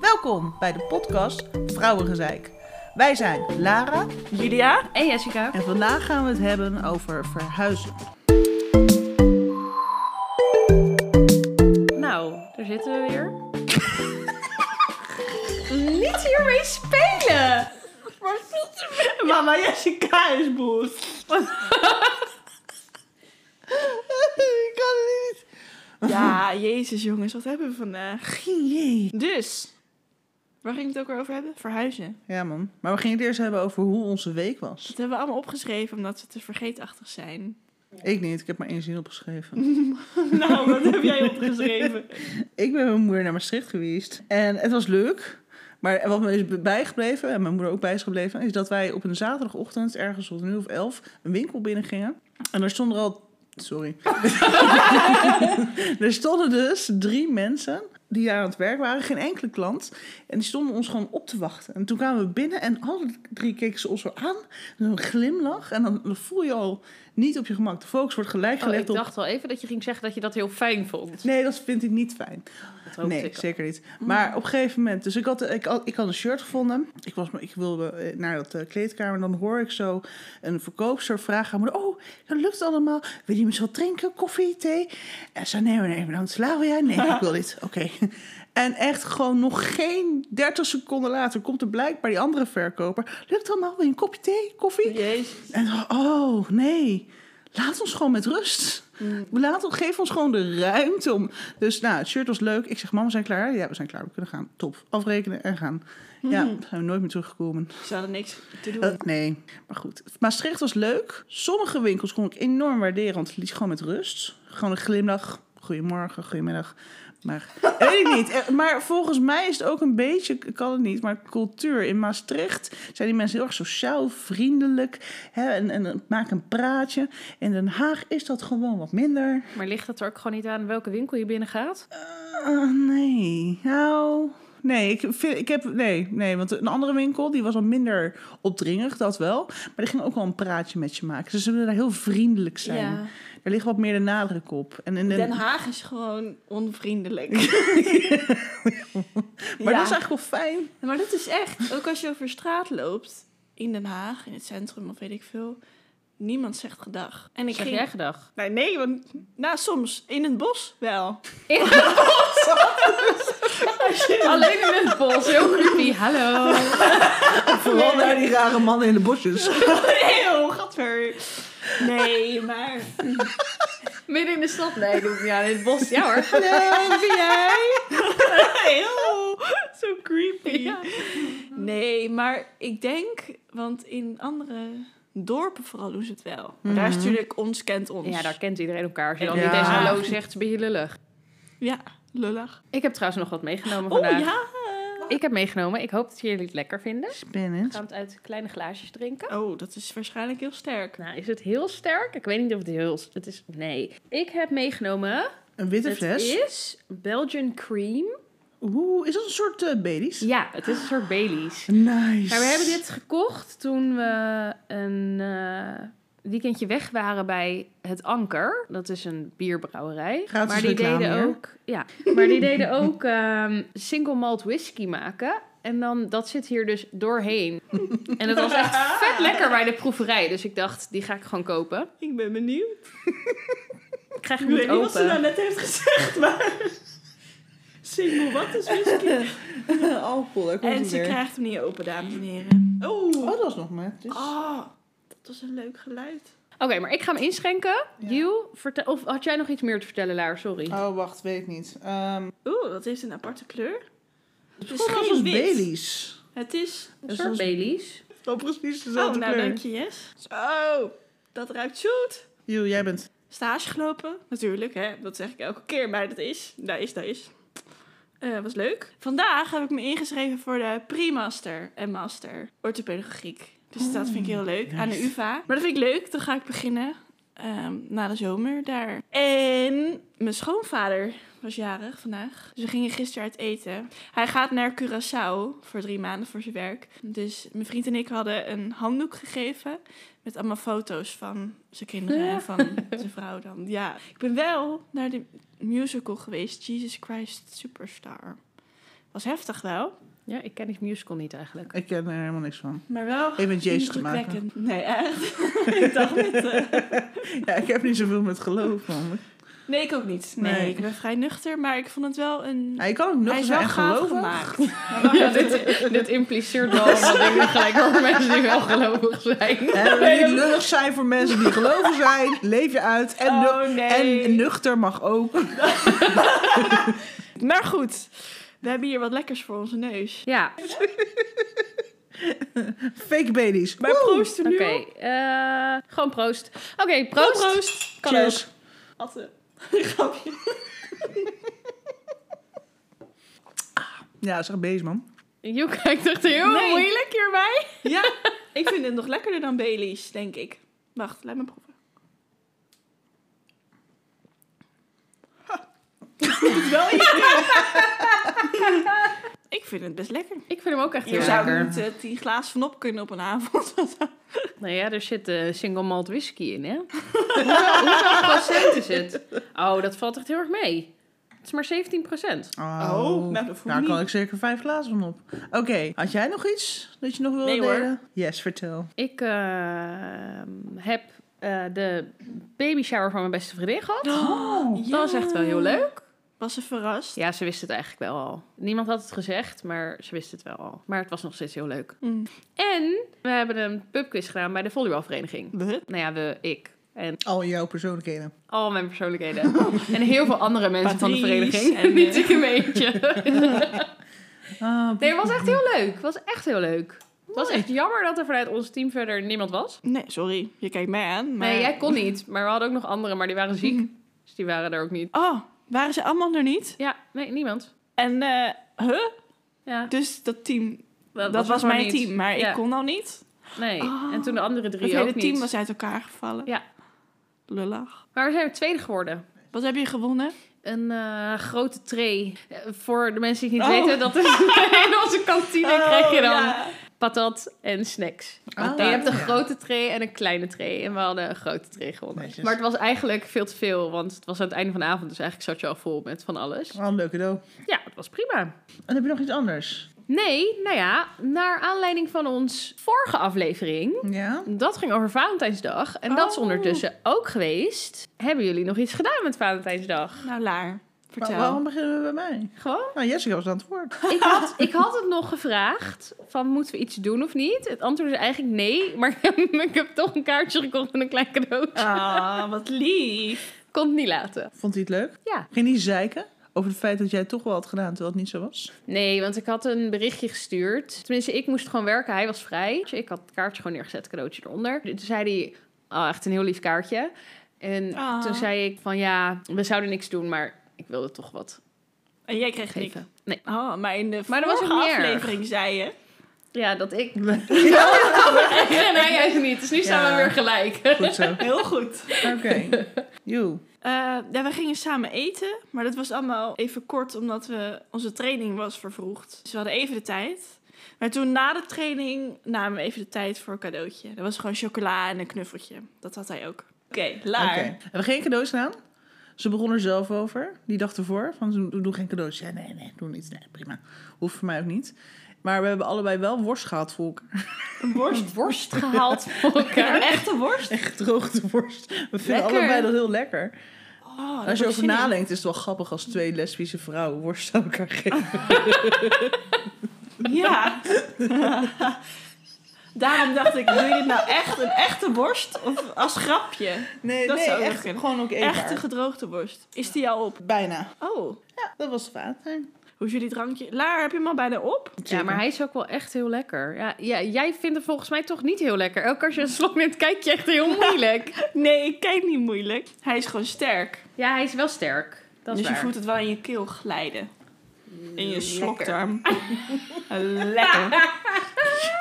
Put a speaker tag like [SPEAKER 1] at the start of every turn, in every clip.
[SPEAKER 1] Welkom bij de podcast Vrouwengezeik. Wij zijn Lara
[SPEAKER 2] Julia en Jessica.
[SPEAKER 1] en vandaag gaan we het hebben over verhuizen.
[SPEAKER 2] Nou, daar zitten we weer. Niet hiermee spelen!
[SPEAKER 1] Mama Jessica is boos. Ik kan het niet.
[SPEAKER 3] Ja, jezus jongens, wat hebben we vandaag?
[SPEAKER 1] Jee.
[SPEAKER 3] Dus, waar ging het ook weer over hebben? Verhuizen.
[SPEAKER 1] Ja man, maar we gingen het eerst hebben over hoe onze week was.
[SPEAKER 3] Dat hebben we allemaal opgeschreven omdat we te vergeetachtig zijn.
[SPEAKER 1] Ik niet, ik heb maar één zin opgeschreven.
[SPEAKER 3] nou, wat heb jij opgeschreven?
[SPEAKER 1] Ik ben met mijn moeder naar Maastricht geweest en het was leuk. Maar wat me is bijgebleven, en mijn moeder ook bij is gebleven, is dat wij op een zaterdagochtend, ergens rond een uur of elf, een winkel binnengingen. En daar stonden er al. Sorry. er stonden dus drie mensen die daar aan het werk waren, geen enkele klant. En die stonden ons gewoon op te wachten. En toen kwamen we binnen en alle drie keken ze ons zo aan. Een glimlach. En dan voel je al niet op je gemak. De focus wordt gelijk
[SPEAKER 2] Oh, ik
[SPEAKER 1] gelegd op.
[SPEAKER 2] dacht al even dat je ging zeggen dat je dat heel fijn vond.
[SPEAKER 1] Nee, dat vind ik niet fijn.
[SPEAKER 2] Dat hoopte
[SPEAKER 1] Nee,
[SPEAKER 2] ik al. Mm.
[SPEAKER 1] zeker niet. Maar op een gegeven moment, dus ik had, ik had, ik had een shirt gevonden. Ik, was, ik wilde eh, naar dat eh, kleedkamer en dan hoor ik zo een verkoopster vragen aan mijn moeder, Oh, dat lukt allemaal. Wil je misschien wat drinken? Koffie, thee? En ze zei, nee, nee, bedankt. Slaven jij? Nee, ik wil dit. Oké. En echt gewoon nog geen 30 seconden later komt er blijkbaar die andere verkoper. Lukt allemaal? Wil je een kopje thee, koffie?
[SPEAKER 3] Jezus.
[SPEAKER 1] En dan, oh nee, laat ons gewoon met rust.
[SPEAKER 3] Mm,
[SPEAKER 1] Laat, ons- geef ons gewoon de ruimte om. Dus nou, het shirt was leuk. Ik zeg, mam, we zijn klaar. Ja, we zijn klaar. We kunnen gaan. Top. Afrekenen en gaan. Ja, zijn we nooit meer teruggekomen.
[SPEAKER 3] Ze hadden niks te doen.
[SPEAKER 1] Eh, nee, maar goed. Maastricht was leuk. Sommige winkels kon ik enorm waarderen, want het liet je gewoon met rust. Gewoon een glimlach. Goedemorgen, goedemiddag. Maar weet ik niet. Eh, Maar volgens mij is het ook een beetje, ik kan het niet, maar cultuur. In Maastricht zijn die mensen heel erg sociaal, vriendelijk hè, en, en, en maken een praatje. In Den Haag is dat gewoon wat minder.
[SPEAKER 2] Maar ligt het er ook gewoon niet aan welke winkel je binnen gaat?
[SPEAKER 1] Ah, nee, nou... Nee, ik, vind, ik heb... Nee, nee, want een andere winkel, die was al minder opdringerig, dat wel. Maar die ging ook wel een praatje met je maken. Ze zullen daar heel vriendelijk zijn.
[SPEAKER 3] Ja.
[SPEAKER 1] Er ligt wat meer de nadruk op. En in de-
[SPEAKER 3] Den Haag is gewoon onvriendelijk.
[SPEAKER 1] maar
[SPEAKER 3] Ja.
[SPEAKER 1] dat is eigenlijk wel fijn.
[SPEAKER 3] Maar dat is echt, ook als je over straat loopt in Den Haag, in het centrum of weet ik veel, niemand zegt gedag. En ik
[SPEAKER 2] Zeg
[SPEAKER 3] ging...
[SPEAKER 2] jij gedag?
[SPEAKER 3] Nee, nee, want nou, soms in het bos wel.
[SPEAKER 2] Alleen in het bos, heel creepy. Hallo.
[SPEAKER 1] Vooral naar die rare mannen in de bosjes.
[SPEAKER 3] Eeuw, gadver. Nee, maar...
[SPEAKER 2] Midden in de stad? Nee, doe ik niet aan. In het bos, ja hoor.
[SPEAKER 3] Hallo, wie jij? Eeuw, zo creepy.
[SPEAKER 2] Ja.
[SPEAKER 3] Nee, maar ik denk, want in andere dorpen vooral doen ze het wel. Maar Daar is natuurlijk ons kent ons.
[SPEAKER 2] Mhm. ja, daar kent iedereen elkaar. Als je dan
[SPEAKER 1] Ja.
[SPEAKER 2] niet eens hallo zegt, is een beetje lullig.
[SPEAKER 3] Ja, lullig.
[SPEAKER 2] Ik heb trouwens nog wat meegenomen
[SPEAKER 3] Oh
[SPEAKER 2] vandaag.
[SPEAKER 3] ja.
[SPEAKER 2] Ik heb meegenomen. Ik hoop dat jullie het lekker vinden. We
[SPEAKER 1] Spannend.
[SPEAKER 2] gaan het uit kleine glaasjes drinken.
[SPEAKER 3] Oh, dat is waarschijnlijk heel sterk.
[SPEAKER 2] Nou, is het heel sterk? Ik weet niet of het heel... Het is... Nee. Ik heb meegenomen...
[SPEAKER 1] Een witte
[SPEAKER 2] Het
[SPEAKER 1] fles.
[SPEAKER 2] is Belgian Cream.
[SPEAKER 1] Oeh, is dat een soort eh Baileys?
[SPEAKER 2] Ja, het is een soort Baileys.
[SPEAKER 1] Nice.
[SPEAKER 2] Maar we hebben dit gekocht toen we een eh, weekendje weg waren bij Het Anker. Dat is een bierbrouwerij.
[SPEAKER 1] Gratis
[SPEAKER 2] maar die
[SPEAKER 1] reclame
[SPEAKER 2] deden
[SPEAKER 1] hier.
[SPEAKER 2] ook, ja, maar die deden ook ehm, single malt whisky maken. En dan, dat zit hier dus doorheen. En dat was echt vet lekker bij de proeverij. Dus ik dacht, die ga ik gewoon kopen.
[SPEAKER 3] Ik ben benieuwd.
[SPEAKER 2] Ik krijg
[SPEAKER 3] Ik
[SPEAKER 2] hem
[SPEAKER 3] weet
[SPEAKER 2] niet
[SPEAKER 3] niet wat
[SPEAKER 2] open.
[SPEAKER 3] ze nou net heeft gezegd, maar... Single, wat is whisky?
[SPEAKER 1] alcohol. Daar komt
[SPEAKER 3] En
[SPEAKER 1] het
[SPEAKER 3] ze
[SPEAKER 1] weer.
[SPEAKER 3] krijgt hem niet open, dames en heren.
[SPEAKER 1] Oh, dat was nog maar. Dus...
[SPEAKER 3] Oh, dat was een leuk geluid.
[SPEAKER 2] Oké, maar ik ga hem inschenken.
[SPEAKER 1] Ja.
[SPEAKER 2] Joe, vertel, of had jij nog iets meer te vertellen, Laar? Sorry.
[SPEAKER 1] Oh, wacht, weet ik niet. Ehm
[SPEAKER 3] Oeh, dat heeft een aparte kleur. Het is
[SPEAKER 1] gewoon als
[SPEAKER 3] geen
[SPEAKER 1] een
[SPEAKER 3] wit.
[SPEAKER 1] Baileys.
[SPEAKER 3] Het is...
[SPEAKER 2] een soort Baileys.
[SPEAKER 1] Wel precies
[SPEAKER 3] Oh,
[SPEAKER 1] dezelfde
[SPEAKER 3] nou
[SPEAKER 1] kleur.
[SPEAKER 3] dank je, yes. Zo, dat ruikt zoet.
[SPEAKER 1] Joe, jij bent
[SPEAKER 3] Stage gelopen, natuurlijk, hè. Dat zeg ik elke keer, maar dat is, dat is, dat is. Eh, was leuk. Vandaag heb ik me ingeschreven voor de pre-master en master orthopedagogiek. Dus dat vind ik heel leuk, aan de
[SPEAKER 1] nice.
[SPEAKER 3] UvA. Maar dat vind ik leuk, dan ga ik beginnen ehm, na de zomer daar. En mijn schoonvader was jarig vandaag. Dus we gingen gisteren uit eten. Hij gaat naar Curaçao voor drie maanden voor zijn werk. Dus mijn vriend en ik hadden een handdoek gegeven met allemaal foto's van zijn kinderen en van zijn vrouw dan. Ja, ik ben wel naar de musical geweest, Jesus Christ Superstar. Was heftig wel.
[SPEAKER 2] Ja, ik ken die musical niet eigenlijk.
[SPEAKER 1] Ik ken er helemaal niks van.
[SPEAKER 3] Maar wel
[SPEAKER 1] Even met Jezus te maken.
[SPEAKER 3] indrukwekkend. Nee, echt. ik dacht niet. eh.
[SPEAKER 1] Ja, ik heb niet zoveel met geloof, man.
[SPEAKER 3] Nee, ik ook niet. Nee,
[SPEAKER 1] Nee.
[SPEAKER 3] ik ben vrij nuchter, maar ik vond het wel een...
[SPEAKER 1] Ja, Nou, je kan ook nog
[SPEAKER 3] Hij is
[SPEAKER 1] eens
[SPEAKER 3] wel
[SPEAKER 1] echt
[SPEAKER 3] gaaf
[SPEAKER 1] geloven.
[SPEAKER 3] gemaakt.
[SPEAKER 2] Ja, dit, dit impliceert wel allemaal dingen gelijk over mensen die wel gelovig zijn.
[SPEAKER 1] Hè, we niet lullig zijn voor mensen die geloven zijn. Leef je uit. En, nu-
[SPEAKER 3] Oh, nee.
[SPEAKER 1] en nuchter mag ook.
[SPEAKER 3] Maar goed, we hebben hier wat lekkers voor onze neus.
[SPEAKER 2] Ja,
[SPEAKER 1] Fake baby's.
[SPEAKER 3] Maar proosten
[SPEAKER 2] oké.
[SPEAKER 3] nu.
[SPEAKER 2] eh, gewoon proost. Oké, proost.
[SPEAKER 3] proost.
[SPEAKER 2] Kan
[SPEAKER 1] Cheers.
[SPEAKER 3] Atten. Grapje.
[SPEAKER 1] Ja, dat is echt beest, man.
[SPEAKER 2] Joe kijkt echt heel
[SPEAKER 3] Nee.
[SPEAKER 2] moeilijk hierbij.
[SPEAKER 3] Ja, ik vind het nog lekkerder dan Bailey's, denk ik. Wacht, laat me proeven. Ik moet het wel irriteren. Ik vind het best lekker.
[SPEAKER 2] Ik vind hem ook echt heel
[SPEAKER 3] Hier zou
[SPEAKER 2] lekker.
[SPEAKER 3] ik niet eh, tien glazen van op kunnen op een avond.
[SPEAKER 2] Nou ja, er zit eh, single malt whisky in, hè? Hoeveel- Hoeveel procent is het? Oh, dat valt echt heel erg mee. Het is maar 17 procent.
[SPEAKER 3] Oh, nou, dat voel ik
[SPEAKER 1] Daar kan
[SPEAKER 3] niet.
[SPEAKER 1] ik zeker vijf glazen van op. Oké, had jij nog iets dat je nog wilde
[SPEAKER 3] Nee, hoor.
[SPEAKER 1] delen? Yes, vertel.
[SPEAKER 2] Ik eh, heb eh, de baby shower van mijn beste vriendin gehad.
[SPEAKER 1] Oh.
[SPEAKER 3] Ja.
[SPEAKER 2] Dat was echt wel heel leuk.
[SPEAKER 3] Was ze verrast?
[SPEAKER 2] Ja, ze wist het eigenlijk wel al. Niemand had het gezegd, maar ze wist het wel al. Maar het was nog steeds heel leuk.
[SPEAKER 3] Mm.
[SPEAKER 2] En we hebben een pubquiz gedaan bij de volleybalvereniging.
[SPEAKER 3] Wat?
[SPEAKER 2] Nou ja, we, ik en
[SPEAKER 1] Al jouw persoonlijkheden.
[SPEAKER 2] al mijn persoonlijkheden. en heel veel andere mensen van de
[SPEAKER 3] Patrice
[SPEAKER 2] vereniging.
[SPEAKER 3] en,
[SPEAKER 2] Niet
[SPEAKER 3] eh,
[SPEAKER 2] ik een beetje.
[SPEAKER 1] Ah,
[SPEAKER 2] Nee, het was echt heel leuk. Het was echt heel leuk. Het was echt jammer dat er vanuit ons team verder niemand was.
[SPEAKER 3] Nee, sorry. Je kijkt mij aan. Maar...
[SPEAKER 2] Nee, jij kon niet. Maar we hadden ook nog anderen, maar die waren ziek. Dus die waren er ook niet.
[SPEAKER 3] Oh, waren ze allemaal er niet?
[SPEAKER 2] Ja, nee, niemand.
[SPEAKER 3] En, eh huh?
[SPEAKER 2] Ja,
[SPEAKER 3] Dus dat team, dat, was,
[SPEAKER 2] er gewoon
[SPEAKER 3] mijn
[SPEAKER 2] niet.
[SPEAKER 3] team, maar
[SPEAKER 2] Ja.
[SPEAKER 3] ik kon al niet.
[SPEAKER 2] Nee,
[SPEAKER 3] Oh.
[SPEAKER 2] en toen de andere
[SPEAKER 3] Het
[SPEAKER 2] drie
[SPEAKER 3] hele
[SPEAKER 2] ook
[SPEAKER 3] team
[SPEAKER 2] niet.
[SPEAKER 3] was uit elkaar gevallen.
[SPEAKER 2] Ja.
[SPEAKER 3] Lullig.
[SPEAKER 2] Maar we zijn er tweede geworden.
[SPEAKER 3] Wat heb je gewonnen?
[SPEAKER 2] Een eh, grote tray. Eh, voor de mensen die het niet
[SPEAKER 3] Oh.
[SPEAKER 2] weten, dat is in onze kantine krijg je dan
[SPEAKER 3] ja. Oh,
[SPEAKER 2] patat en snacks.
[SPEAKER 1] Ah,
[SPEAKER 2] en je hebt een
[SPEAKER 1] ja.
[SPEAKER 2] grote tray en een kleine tray. En we hadden een grote tray gewonnen.
[SPEAKER 1] Netjes.
[SPEAKER 2] Maar het was eigenlijk veel te veel, want het was aan het einde van de avond. Dus eigenlijk zat je al vol met van alles.
[SPEAKER 1] wel een leuke doel.
[SPEAKER 2] Ja, het was prima.
[SPEAKER 1] En heb je nog iets anders?
[SPEAKER 2] Nee, nou ja, naar aanleiding van ons vorige aflevering.
[SPEAKER 1] Ja?
[SPEAKER 2] Dat ging over Valentijnsdag. En dat is
[SPEAKER 3] Oh.
[SPEAKER 2] ondertussen ook geweest. Hebben jullie nog iets gedaan met Valentijnsdag?
[SPEAKER 3] Nou, Laar,
[SPEAKER 1] Maar
[SPEAKER 3] vertel.
[SPEAKER 1] waarom beginnen we bij mij?
[SPEAKER 2] Gewoon?
[SPEAKER 1] Nou, Jessica was aan het woord.
[SPEAKER 2] Ik had, ik had het nog gevraagd: van moeten we iets doen of niet? Het antwoord is eigenlijk nee. Maar ik heb toch een kaartje gekocht en een klein cadeautje.
[SPEAKER 3] Ah, wat lief.
[SPEAKER 2] Kon het niet laten.
[SPEAKER 1] Vond hij het leuk?
[SPEAKER 2] Ja.
[SPEAKER 1] Ging hij zeiken over het feit dat jij het toch wel had gedaan terwijl het niet zo was?
[SPEAKER 2] Nee, want ik had een berichtje gestuurd. Tenminste, ik moest gewoon werken. Hij was vrij. Dus ik had het kaartje gewoon neergezet, cadeautje eronder. Toen zei hij, oh, echt een heel lief kaartje. En
[SPEAKER 3] Ah.
[SPEAKER 2] toen zei ik van, ja, we zouden niks doen, maar ik wilde toch wat
[SPEAKER 3] En jij kreeg niks.
[SPEAKER 2] geven. Nee,
[SPEAKER 3] Oh, maar in de
[SPEAKER 2] Maar er was
[SPEAKER 3] vorige
[SPEAKER 2] ook meer.
[SPEAKER 3] aflevering zei je...
[SPEAKER 2] ja, dat ik.
[SPEAKER 1] Ja,
[SPEAKER 2] en hij juist niet. Dus nu staan
[SPEAKER 1] Ja.
[SPEAKER 2] we weer gelijk.
[SPEAKER 1] goed zo.
[SPEAKER 3] Heel goed.
[SPEAKER 1] Oké. Joe.
[SPEAKER 3] Eh, ja, we gingen samen eten, maar dat was allemaal even kort omdat we, onze training was vervroegd. Dus we hadden even de tijd. Maar toen na de training namen we even de tijd voor een cadeautje. Dat was gewoon chocola en een knuffeltje. Dat had hij ook. Oké, laar.
[SPEAKER 1] Oké. We Hebben geen cadeaus gedaan? Ze begon er zelf over, die dag ervoor. Van, "Doe- doe, doe geen cadeaus. Ja, nee, nee, doe niet. Nee, prima. Hoeft voor mij ook niet. Maar we hebben allebei wel worst gehad voor elkaar.
[SPEAKER 3] Een worst.
[SPEAKER 2] Worst gehaald voor
[SPEAKER 3] Een
[SPEAKER 2] elkaar.
[SPEAKER 3] echte worst.
[SPEAKER 1] Echt gedroogde worst. We vinden
[SPEAKER 2] Lekker.
[SPEAKER 1] allebei dat heel lekker.
[SPEAKER 3] Oh, daar word
[SPEAKER 1] als je
[SPEAKER 3] ik
[SPEAKER 1] over
[SPEAKER 3] zin in. Oh,
[SPEAKER 1] nadenkt, is het wel grappig als twee lesbische vrouwen worst aan elkaar geven.
[SPEAKER 3] Ja. Daarom dacht ik, doe je dit nou echt een echte worst of als grapje?
[SPEAKER 1] Nee,
[SPEAKER 3] Dat
[SPEAKER 1] nee,
[SPEAKER 3] zou ook
[SPEAKER 1] echt
[SPEAKER 3] kunnen.
[SPEAKER 1] gewoon ook eetbaar.
[SPEAKER 3] Echte gedroogde worst. Is die al op?
[SPEAKER 1] Bijna.
[SPEAKER 3] Oh,
[SPEAKER 1] Ja, dat was water.
[SPEAKER 3] hoe is jullie drankje? Laar, heb je hem al bijna op?
[SPEAKER 2] Ja, maar hij is ook wel echt heel lekker. Ja, ja, jij vindt hem volgens mij toch niet heel lekker. Elke keer als je een slok neemt, kijk je echt heel moeilijk.
[SPEAKER 3] Nee, ik kijk niet moeilijk. Hij is gewoon sterk.
[SPEAKER 2] Ja, hij is wel sterk. Dat is
[SPEAKER 3] dus je
[SPEAKER 2] waar.
[SPEAKER 3] voelt het wel in je keel glijden. In je slokdarm. lekker.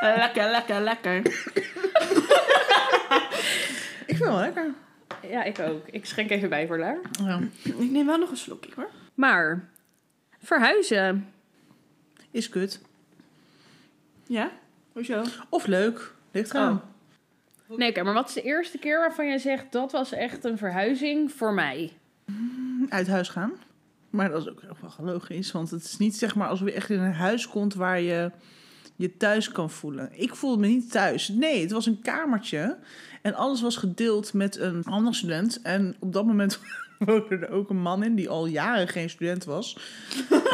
[SPEAKER 3] lekker, lekker, lekker.
[SPEAKER 1] Ik vind hem wel lekker.
[SPEAKER 2] Ja, ik ook. Ik schenk even bij voor daar.
[SPEAKER 1] Ja.
[SPEAKER 3] Ik neem wel nog een slokje hoor.
[SPEAKER 2] Maar verhuizen.
[SPEAKER 1] Is kut.
[SPEAKER 3] Ja? Hoezo?
[SPEAKER 1] Of leuk. Ligt
[SPEAKER 3] Oh.
[SPEAKER 1] eraan.
[SPEAKER 2] Nee, oké, maar wat is de eerste keer waarvan jij zegt dat was echt een verhuizing voor mij?
[SPEAKER 1] Uit huis gaan. Maar dat is ook echt wel gelogen is, want het is niet zeg maar alsof je echt in een huis komt waar je je thuis kan voelen. Ik voelde me niet thuis. Nee, het was een kamertje en alles was gedeeld met een ander student. En op dat moment woonde er ook een man in die al jaren geen student was.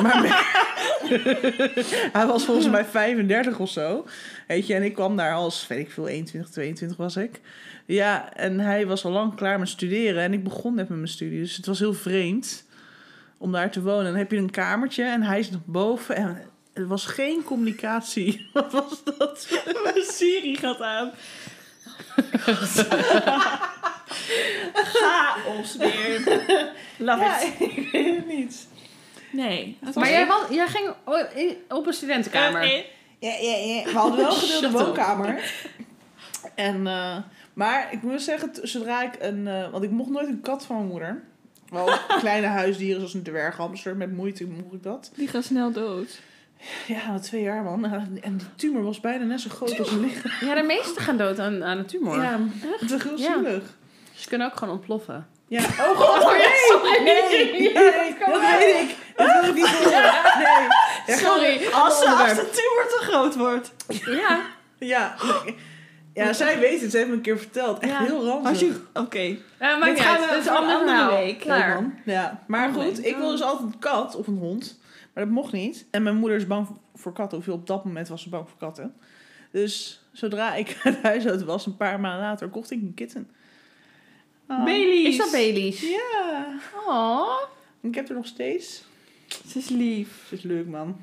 [SPEAKER 1] maar hij was volgens mij 35 of zo. Weet je, en ik kwam daar als, weet ik veel, 21, 22 was ik. Ja, en hij was al lang klaar met studeren en ik begon net met mijn studie. Dus het was heel vreemd om daar te wonen. Dan heb je een kamertje en hij is nog boven en er was geen communicatie. Wat was dat?
[SPEAKER 3] Mijn Siri gaat aan. Chaos weer. Love it.
[SPEAKER 1] ik weet het niet.
[SPEAKER 3] Nee. dat was
[SPEAKER 2] Maar jij,
[SPEAKER 3] echt-
[SPEAKER 2] was, jij ging o- in- op een studentenkamer.
[SPEAKER 3] Nee.
[SPEAKER 1] Ja, ja, ja. We hadden wel een gedeelde
[SPEAKER 2] Shut up.
[SPEAKER 1] woonkamer. En, eh, maar ik moet zeggen, t- zodra ik een... eh, want ik mocht nooit een kat van mijn moeder. Wel kleine huisdieren zoals een dwerghamster. Met moeite mocht ik dat.
[SPEAKER 3] Die gaan snel dood.
[SPEAKER 1] Ja, na twee jaar man. En die tumor was bijna net zo groot als mijn lichaam.
[SPEAKER 2] Ja, de meesten gaan dood aan, aan een tumor.
[SPEAKER 1] Ja, het was heel
[SPEAKER 2] Ja.
[SPEAKER 1] zielig.
[SPEAKER 2] Ze kunnen ook gewoon ontploffen.
[SPEAKER 1] Ja. Oh god, nee! Nee, nee, dat weet ik. Dat wil ik niet horen. Nee. Ja, gewoon
[SPEAKER 2] Sorry.
[SPEAKER 1] een ander
[SPEAKER 3] Als de, als
[SPEAKER 1] onderwerp.
[SPEAKER 3] de tumor te groot wordt.
[SPEAKER 2] Ja.
[SPEAKER 1] Ja, nee. ja, zij weet het. Ze heeft me een keer verteld. Echt
[SPEAKER 2] Ja.
[SPEAKER 1] heel ranzig.
[SPEAKER 3] Als je... Oké.
[SPEAKER 2] Eh maakt
[SPEAKER 1] Dit
[SPEAKER 2] niet
[SPEAKER 1] gaan
[SPEAKER 2] uit.
[SPEAKER 1] we
[SPEAKER 2] Dat is
[SPEAKER 1] voor een
[SPEAKER 2] allemaal
[SPEAKER 1] andere
[SPEAKER 2] verhaal.
[SPEAKER 1] week.
[SPEAKER 2] Klaar.
[SPEAKER 1] Leuk, man. Ja, maar
[SPEAKER 3] Oh,
[SPEAKER 1] goed,
[SPEAKER 3] nee.
[SPEAKER 1] ik wil dus altijd een kat of een hond. Maar dat mocht niet. En mijn moeder is bang voor katten. Of op dat moment was ze bang voor katten. Dus zodra ik uit huis uit was, een paar maanden later, kocht ik een kitten. Ah.
[SPEAKER 3] Bailey's.
[SPEAKER 2] Is dat Bailey's?
[SPEAKER 1] Ja.
[SPEAKER 2] Oh.
[SPEAKER 1] Ik heb er nog steeds.
[SPEAKER 3] Ze is lief.
[SPEAKER 1] Dat is leuk, man.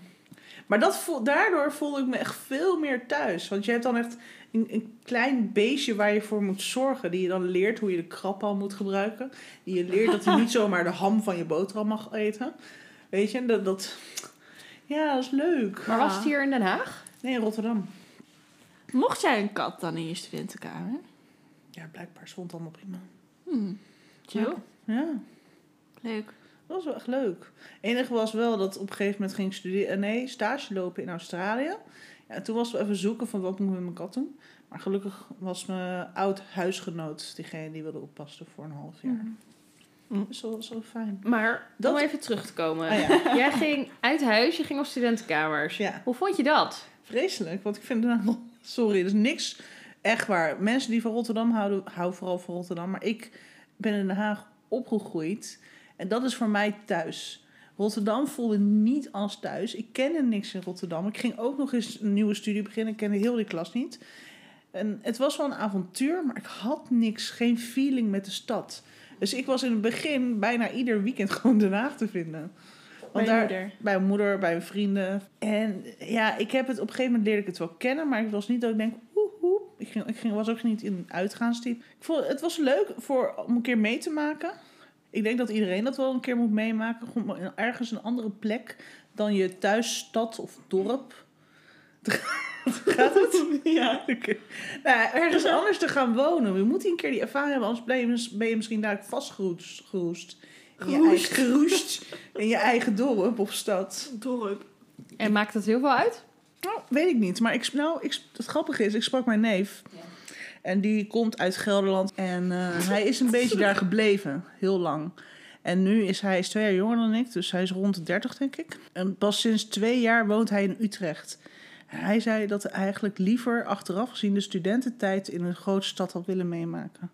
[SPEAKER 1] Maar dat voel, daardoor voelde ik me echt veel meer thuis. Want je hebt dan echt een, een klein beestje waar je voor moet zorgen. Die je dan leert hoe je de krabbal moet gebruiken. Die je leert dat hij niet zomaar de ham van je boterham mag eten. Weet je, dat... dat ja, dat is leuk.
[SPEAKER 2] Maar
[SPEAKER 3] Ja.
[SPEAKER 2] was het hier in Den Haag?
[SPEAKER 1] Nee, in Rotterdam.
[SPEAKER 3] Mocht jij een kat dan in je studentenkamer?
[SPEAKER 1] Ja, blijkbaar stond het allemaal prima.
[SPEAKER 3] Hm. Chill.
[SPEAKER 1] Ja.
[SPEAKER 3] Leuk.
[SPEAKER 1] Dat was wel echt leuk. enige was wel dat op een gegeven moment ging ik studeren, nee, stage lopen in Australië. Ja, en toen was het even zoeken van wat moet ik met mijn kat doen. Maar gelukkig was mijn oud huisgenoot diegene die wilde oppassen voor een half jaar.
[SPEAKER 3] Mhm.
[SPEAKER 1] Dus dat was wel fijn.
[SPEAKER 2] Maar
[SPEAKER 1] Dat-
[SPEAKER 2] om even terug te komen.
[SPEAKER 3] Oh
[SPEAKER 1] Ah ja, dus
[SPEAKER 2] Jij ging uit huis, je ging op studentenkamers.
[SPEAKER 1] ja,
[SPEAKER 2] Hoe vond je dat?
[SPEAKER 1] vreselijk. Want ik vind het nou, sorry, er is niks echt waar. Mensen die van Rotterdam houden, houden vooral van Rotterdam. Maar ik ben in Den Haag opgegroeid. En dat is voor mij thuis. Rotterdam voelde niet als thuis. Ik kende niks in Rotterdam. Ik ging ook nog eens een nieuwe studie beginnen. Ik kende heel die klas niet. En het was wel een avontuur, maar ik had niks, geen feeling met de stad. Dus ik was in het begin bijna ieder weekend gewoon Den Haag te vinden.
[SPEAKER 3] Bij je
[SPEAKER 1] daar-
[SPEAKER 3] moeder?
[SPEAKER 1] Bij mijn moeder, bij mijn vrienden. En ja, ik heb het op een gegeven moment leerde ik het wel kennen, maar ik was niet dat ik denk, oeh, oeh. Ik, ging, ik ging, was ook niet in een uitgaanstype. Ik vond, het was leuk voor, om een keer mee te maken. Ik denk dat iedereen dat wel een keer moet meemaken. Gewoon in- ergens een andere plek dan je thuisstad of dorp. Gaat het?
[SPEAKER 3] Ja.
[SPEAKER 1] Oké. Nou, ja, ergens anders te gaan wonen. Je moet een keer die ervaring hebben, anders ben je, mis- ben je misschien daar vastgeroest. Geroest. In je
[SPEAKER 3] Geroest.
[SPEAKER 1] eigen, geroest in je eigen dorp of stad.
[SPEAKER 3] Dorp.
[SPEAKER 2] En maakt dat heel veel uit?
[SPEAKER 1] Nou, weet ik niet. Maar ik, nou, ik, het grappige is, ik sprak mijn neef. En die komt uit Gelderland. En eh, hij is een beetje daar gebleven. Heel lang. En nu is hij is twee jaar jonger dan ik. Dus hij is rond de 30, denk ik. En pas sinds twee jaar woont hij in Utrecht. En hij zei dat hij eigenlijk liever achteraf gezien de studententijd in een grote stad had willen meemaken.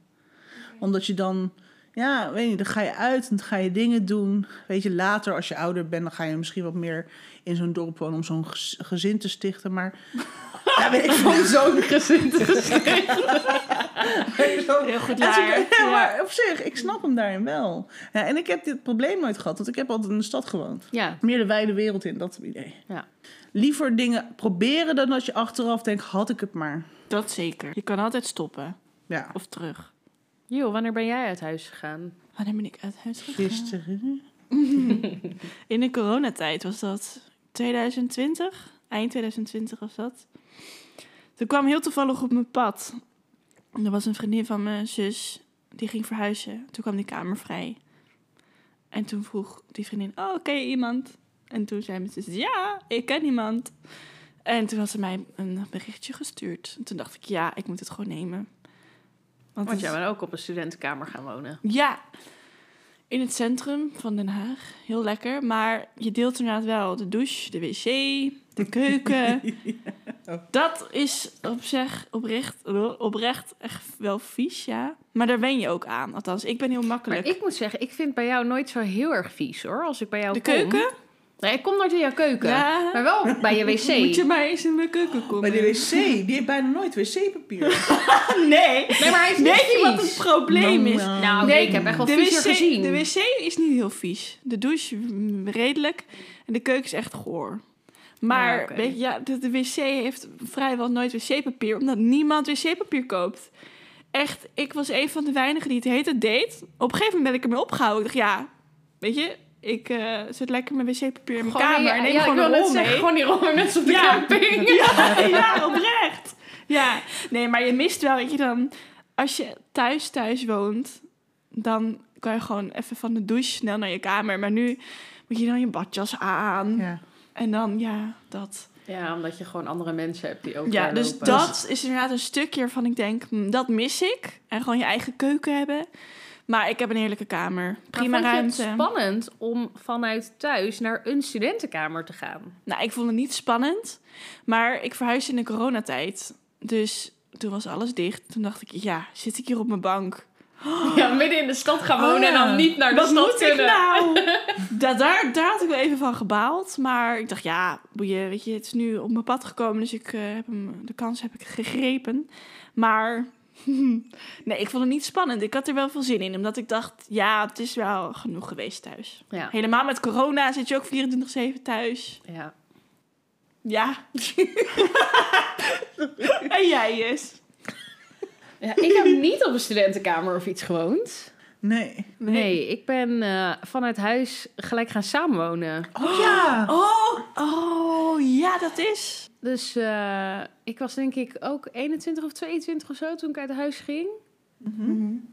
[SPEAKER 1] Omdat je dan, ja, weet je, dan ga je uit en dan ga je dingen doen. Weet je, later als je ouder bent, dan ga je misschien wat meer in zo'n dorp wonen om zo'n gez- gezin te stichten. Maar ja, weet ik vond zo'n
[SPEAKER 2] Gezin
[SPEAKER 3] Heel goed
[SPEAKER 1] en
[SPEAKER 3] laar.
[SPEAKER 1] zo- ja, maar op zich, ik snap hem daarin wel. Ja, en ik heb dit probleem nooit gehad, want ik heb altijd in de stad gewoond.
[SPEAKER 2] Ja.
[SPEAKER 1] Meer de wijde wereld in, dat idee.
[SPEAKER 2] Ja.
[SPEAKER 1] Liever dingen proberen dan dat je achteraf denkt, had ik het maar.
[SPEAKER 3] Dat zeker. Je kan altijd stoppen.
[SPEAKER 1] Ja,
[SPEAKER 3] Of terug.
[SPEAKER 2] Jo, wanneer ben jij uit huis gegaan?
[SPEAKER 3] Wanneer ben ik uit huis gegaan?
[SPEAKER 1] gisteren.
[SPEAKER 3] In de coronatijd was dat 2020, eind 2020 was dat. Toen kwam heel toevallig op mijn pad. En Er was een vriendin van mijn zus, die ging verhuizen. Toen kwam die kamer vrij. En toen vroeg die vriendin, oh, ken je iemand? En toen zei mijn zus, ja, ik ken iemand. En toen had ze mij een berichtje gestuurd. En toen dacht ik, ja, ik moet het gewoon nemen.
[SPEAKER 2] Want
[SPEAKER 3] het-
[SPEAKER 2] jij bent ook op een studentenkamer gaan wonen.
[SPEAKER 3] ja. in het centrum van Den Haag. Heel lekker. Maar je deelt inderdaad wel de douche, de wc, de keuken. Dat is op zich oprecht, oprecht echt wel vies, ja. Maar daar wen je ook aan. Althans, ik ben heel makkelijk.
[SPEAKER 2] Maar ik moet zeggen, ik vind bij jou nooit zo heel erg vies hoor. Als ik bij jou
[SPEAKER 3] de
[SPEAKER 2] kom.
[SPEAKER 3] keuken?
[SPEAKER 2] Nee, ik kom nooit in jouw keuken.
[SPEAKER 3] Ja.
[SPEAKER 2] Maar wel bij je wc.
[SPEAKER 3] Moet je maar eens in mijn keuken
[SPEAKER 1] Maar
[SPEAKER 3] komen.
[SPEAKER 1] die wc, die heeft bijna nooit wc-papier.
[SPEAKER 3] Ah, Nee.
[SPEAKER 2] Nee, maar hij is niet
[SPEAKER 3] Weet je wat
[SPEAKER 2] vies.
[SPEAKER 3] het probleem is?
[SPEAKER 2] Nou,
[SPEAKER 3] Nee,
[SPEAKER 2] ik heb echt wel
[SPEAKER 3] De
[SPEAKER 2] viezer
[SPEAKER 3] wc,
[SPEAKER 2] gezien.
[SPEAKER 3] de wc is niet heel vies. De douche mm, redelijk. En de keuken is echt goor. Maar
[SPEAKER 2] Ja, Ah, oké.
[SPEAKER 3] weet je, ja, de, de wc heeft vrijwel nooit wc-papier, omdat niemand wc-papier koopt. Echt, ik was een van de weinigen die het heet het deed. Op een gegeven moment ben ik ermee opgehouden. Ik dacht, ja, weet je, ik eh, zet lekker mijn wc-papier in mijn
[SPEAKER 2] Gewoon
[SPEAKER 3] kamer
[SPEAKER 2] hier-
[SPEAKER 3] en neem
[SPEAKER 2] ja,
[SPEAKER 3] gewoon
[SPEAKER 2] ik
[SPEAKER 3] een
[SPEAKER 2] wil net
[SPEAKER 3] rol
[SPEAKER 2] zeggen,
[SPEAKER 3] mee.
[SPEAKER 2] gewoon die rollen net zoals de
[SPEAKER 3] Ja.
[SPEAKER 2] camping.
[SPEAKER 3] Ja, ja, oprecht. Ja, nee, maar je mist wel, weet je dan, als je thuis thuis woont, dan kan je gewoon even van de douche snel naar je kamer. Maar nu moet je dan je badjas aan
[SPEAKER 1] Ja.
[SPEAKER 3] en dan, ja, dat.
[SPEAKER 2] Ja, omdat je gewoon andere mensen hebt die ook
[SPEAKER 3] Ja,
[SPEAKER 2] daar
[SPEAKER 3] dus
[SPEAKER 2] lopen.
[SPEAKER 3] dat is inderdaad een stukje waarvan ik denk, hm, dat mis ik. En gewoon je eigen keuken hebben. Maar ik heb een heerlijke kamer. Prima
[SPEAKER 2] maar vond
[SPEAKER 3] ruimte.
[SPEAKER 2] je het spannend om vanuit thuis naar een studentenkamer te gaan?
[SPEAKER 3] Nou, ik vond het niet spannend, maar ik verhuisde in de coronatijd. Dus toen was alles dicht. Toen dacht ik, ja, zit ik hier op mijn bank?
[SPEAKER 2] Ja, midden in de stad gaan wonen
[SPEAKER 1] Oh, ja.
[SPEAKER 2] en dan niet naar de
[SPEAKER 3] Wat
[SPEAKER 2] stad
[SPEAKER 3] moet ik
[SPEAKER 2] kunnen.
[SPEAKER 3] nou? Da- daar, daar had ik wel even van gebaald. Maar ik dacht, ja, boeien, weet je, het is nu op mijn pad gekomen. Dus ik eh, heb hem, de kans heb ik gegrepen. Maar nee, ik vond het niet spannend. Ik had er wel veel zin in. Omdat ik dacht, ja, het is wel genoeg geweest thuis.
[SPEAKER 2] Ja.
[SPEAKER 3] Helemaal met corona zit je ook 24-7 thuis.
[SPEAKER 2] ja.
[SPEAKER 3] Ja. en jij is.
[SPEAKER 2] Ja, ik heb niet op een studentenkamer of iets gewoond.
[SPEAKER 1] Nee.
[SPEAKER 2] Nee, ik ben eh, vanuit huis gelijk gaan samenwonen.
[SPEAKER 1] Oh ja!
[SPEAKER 3] Oh, oh, ja, dat is.
[SPEAKER 2] Dus eh, ik was denk ik ook 21 of 22 of zo toen ik uit huis ging.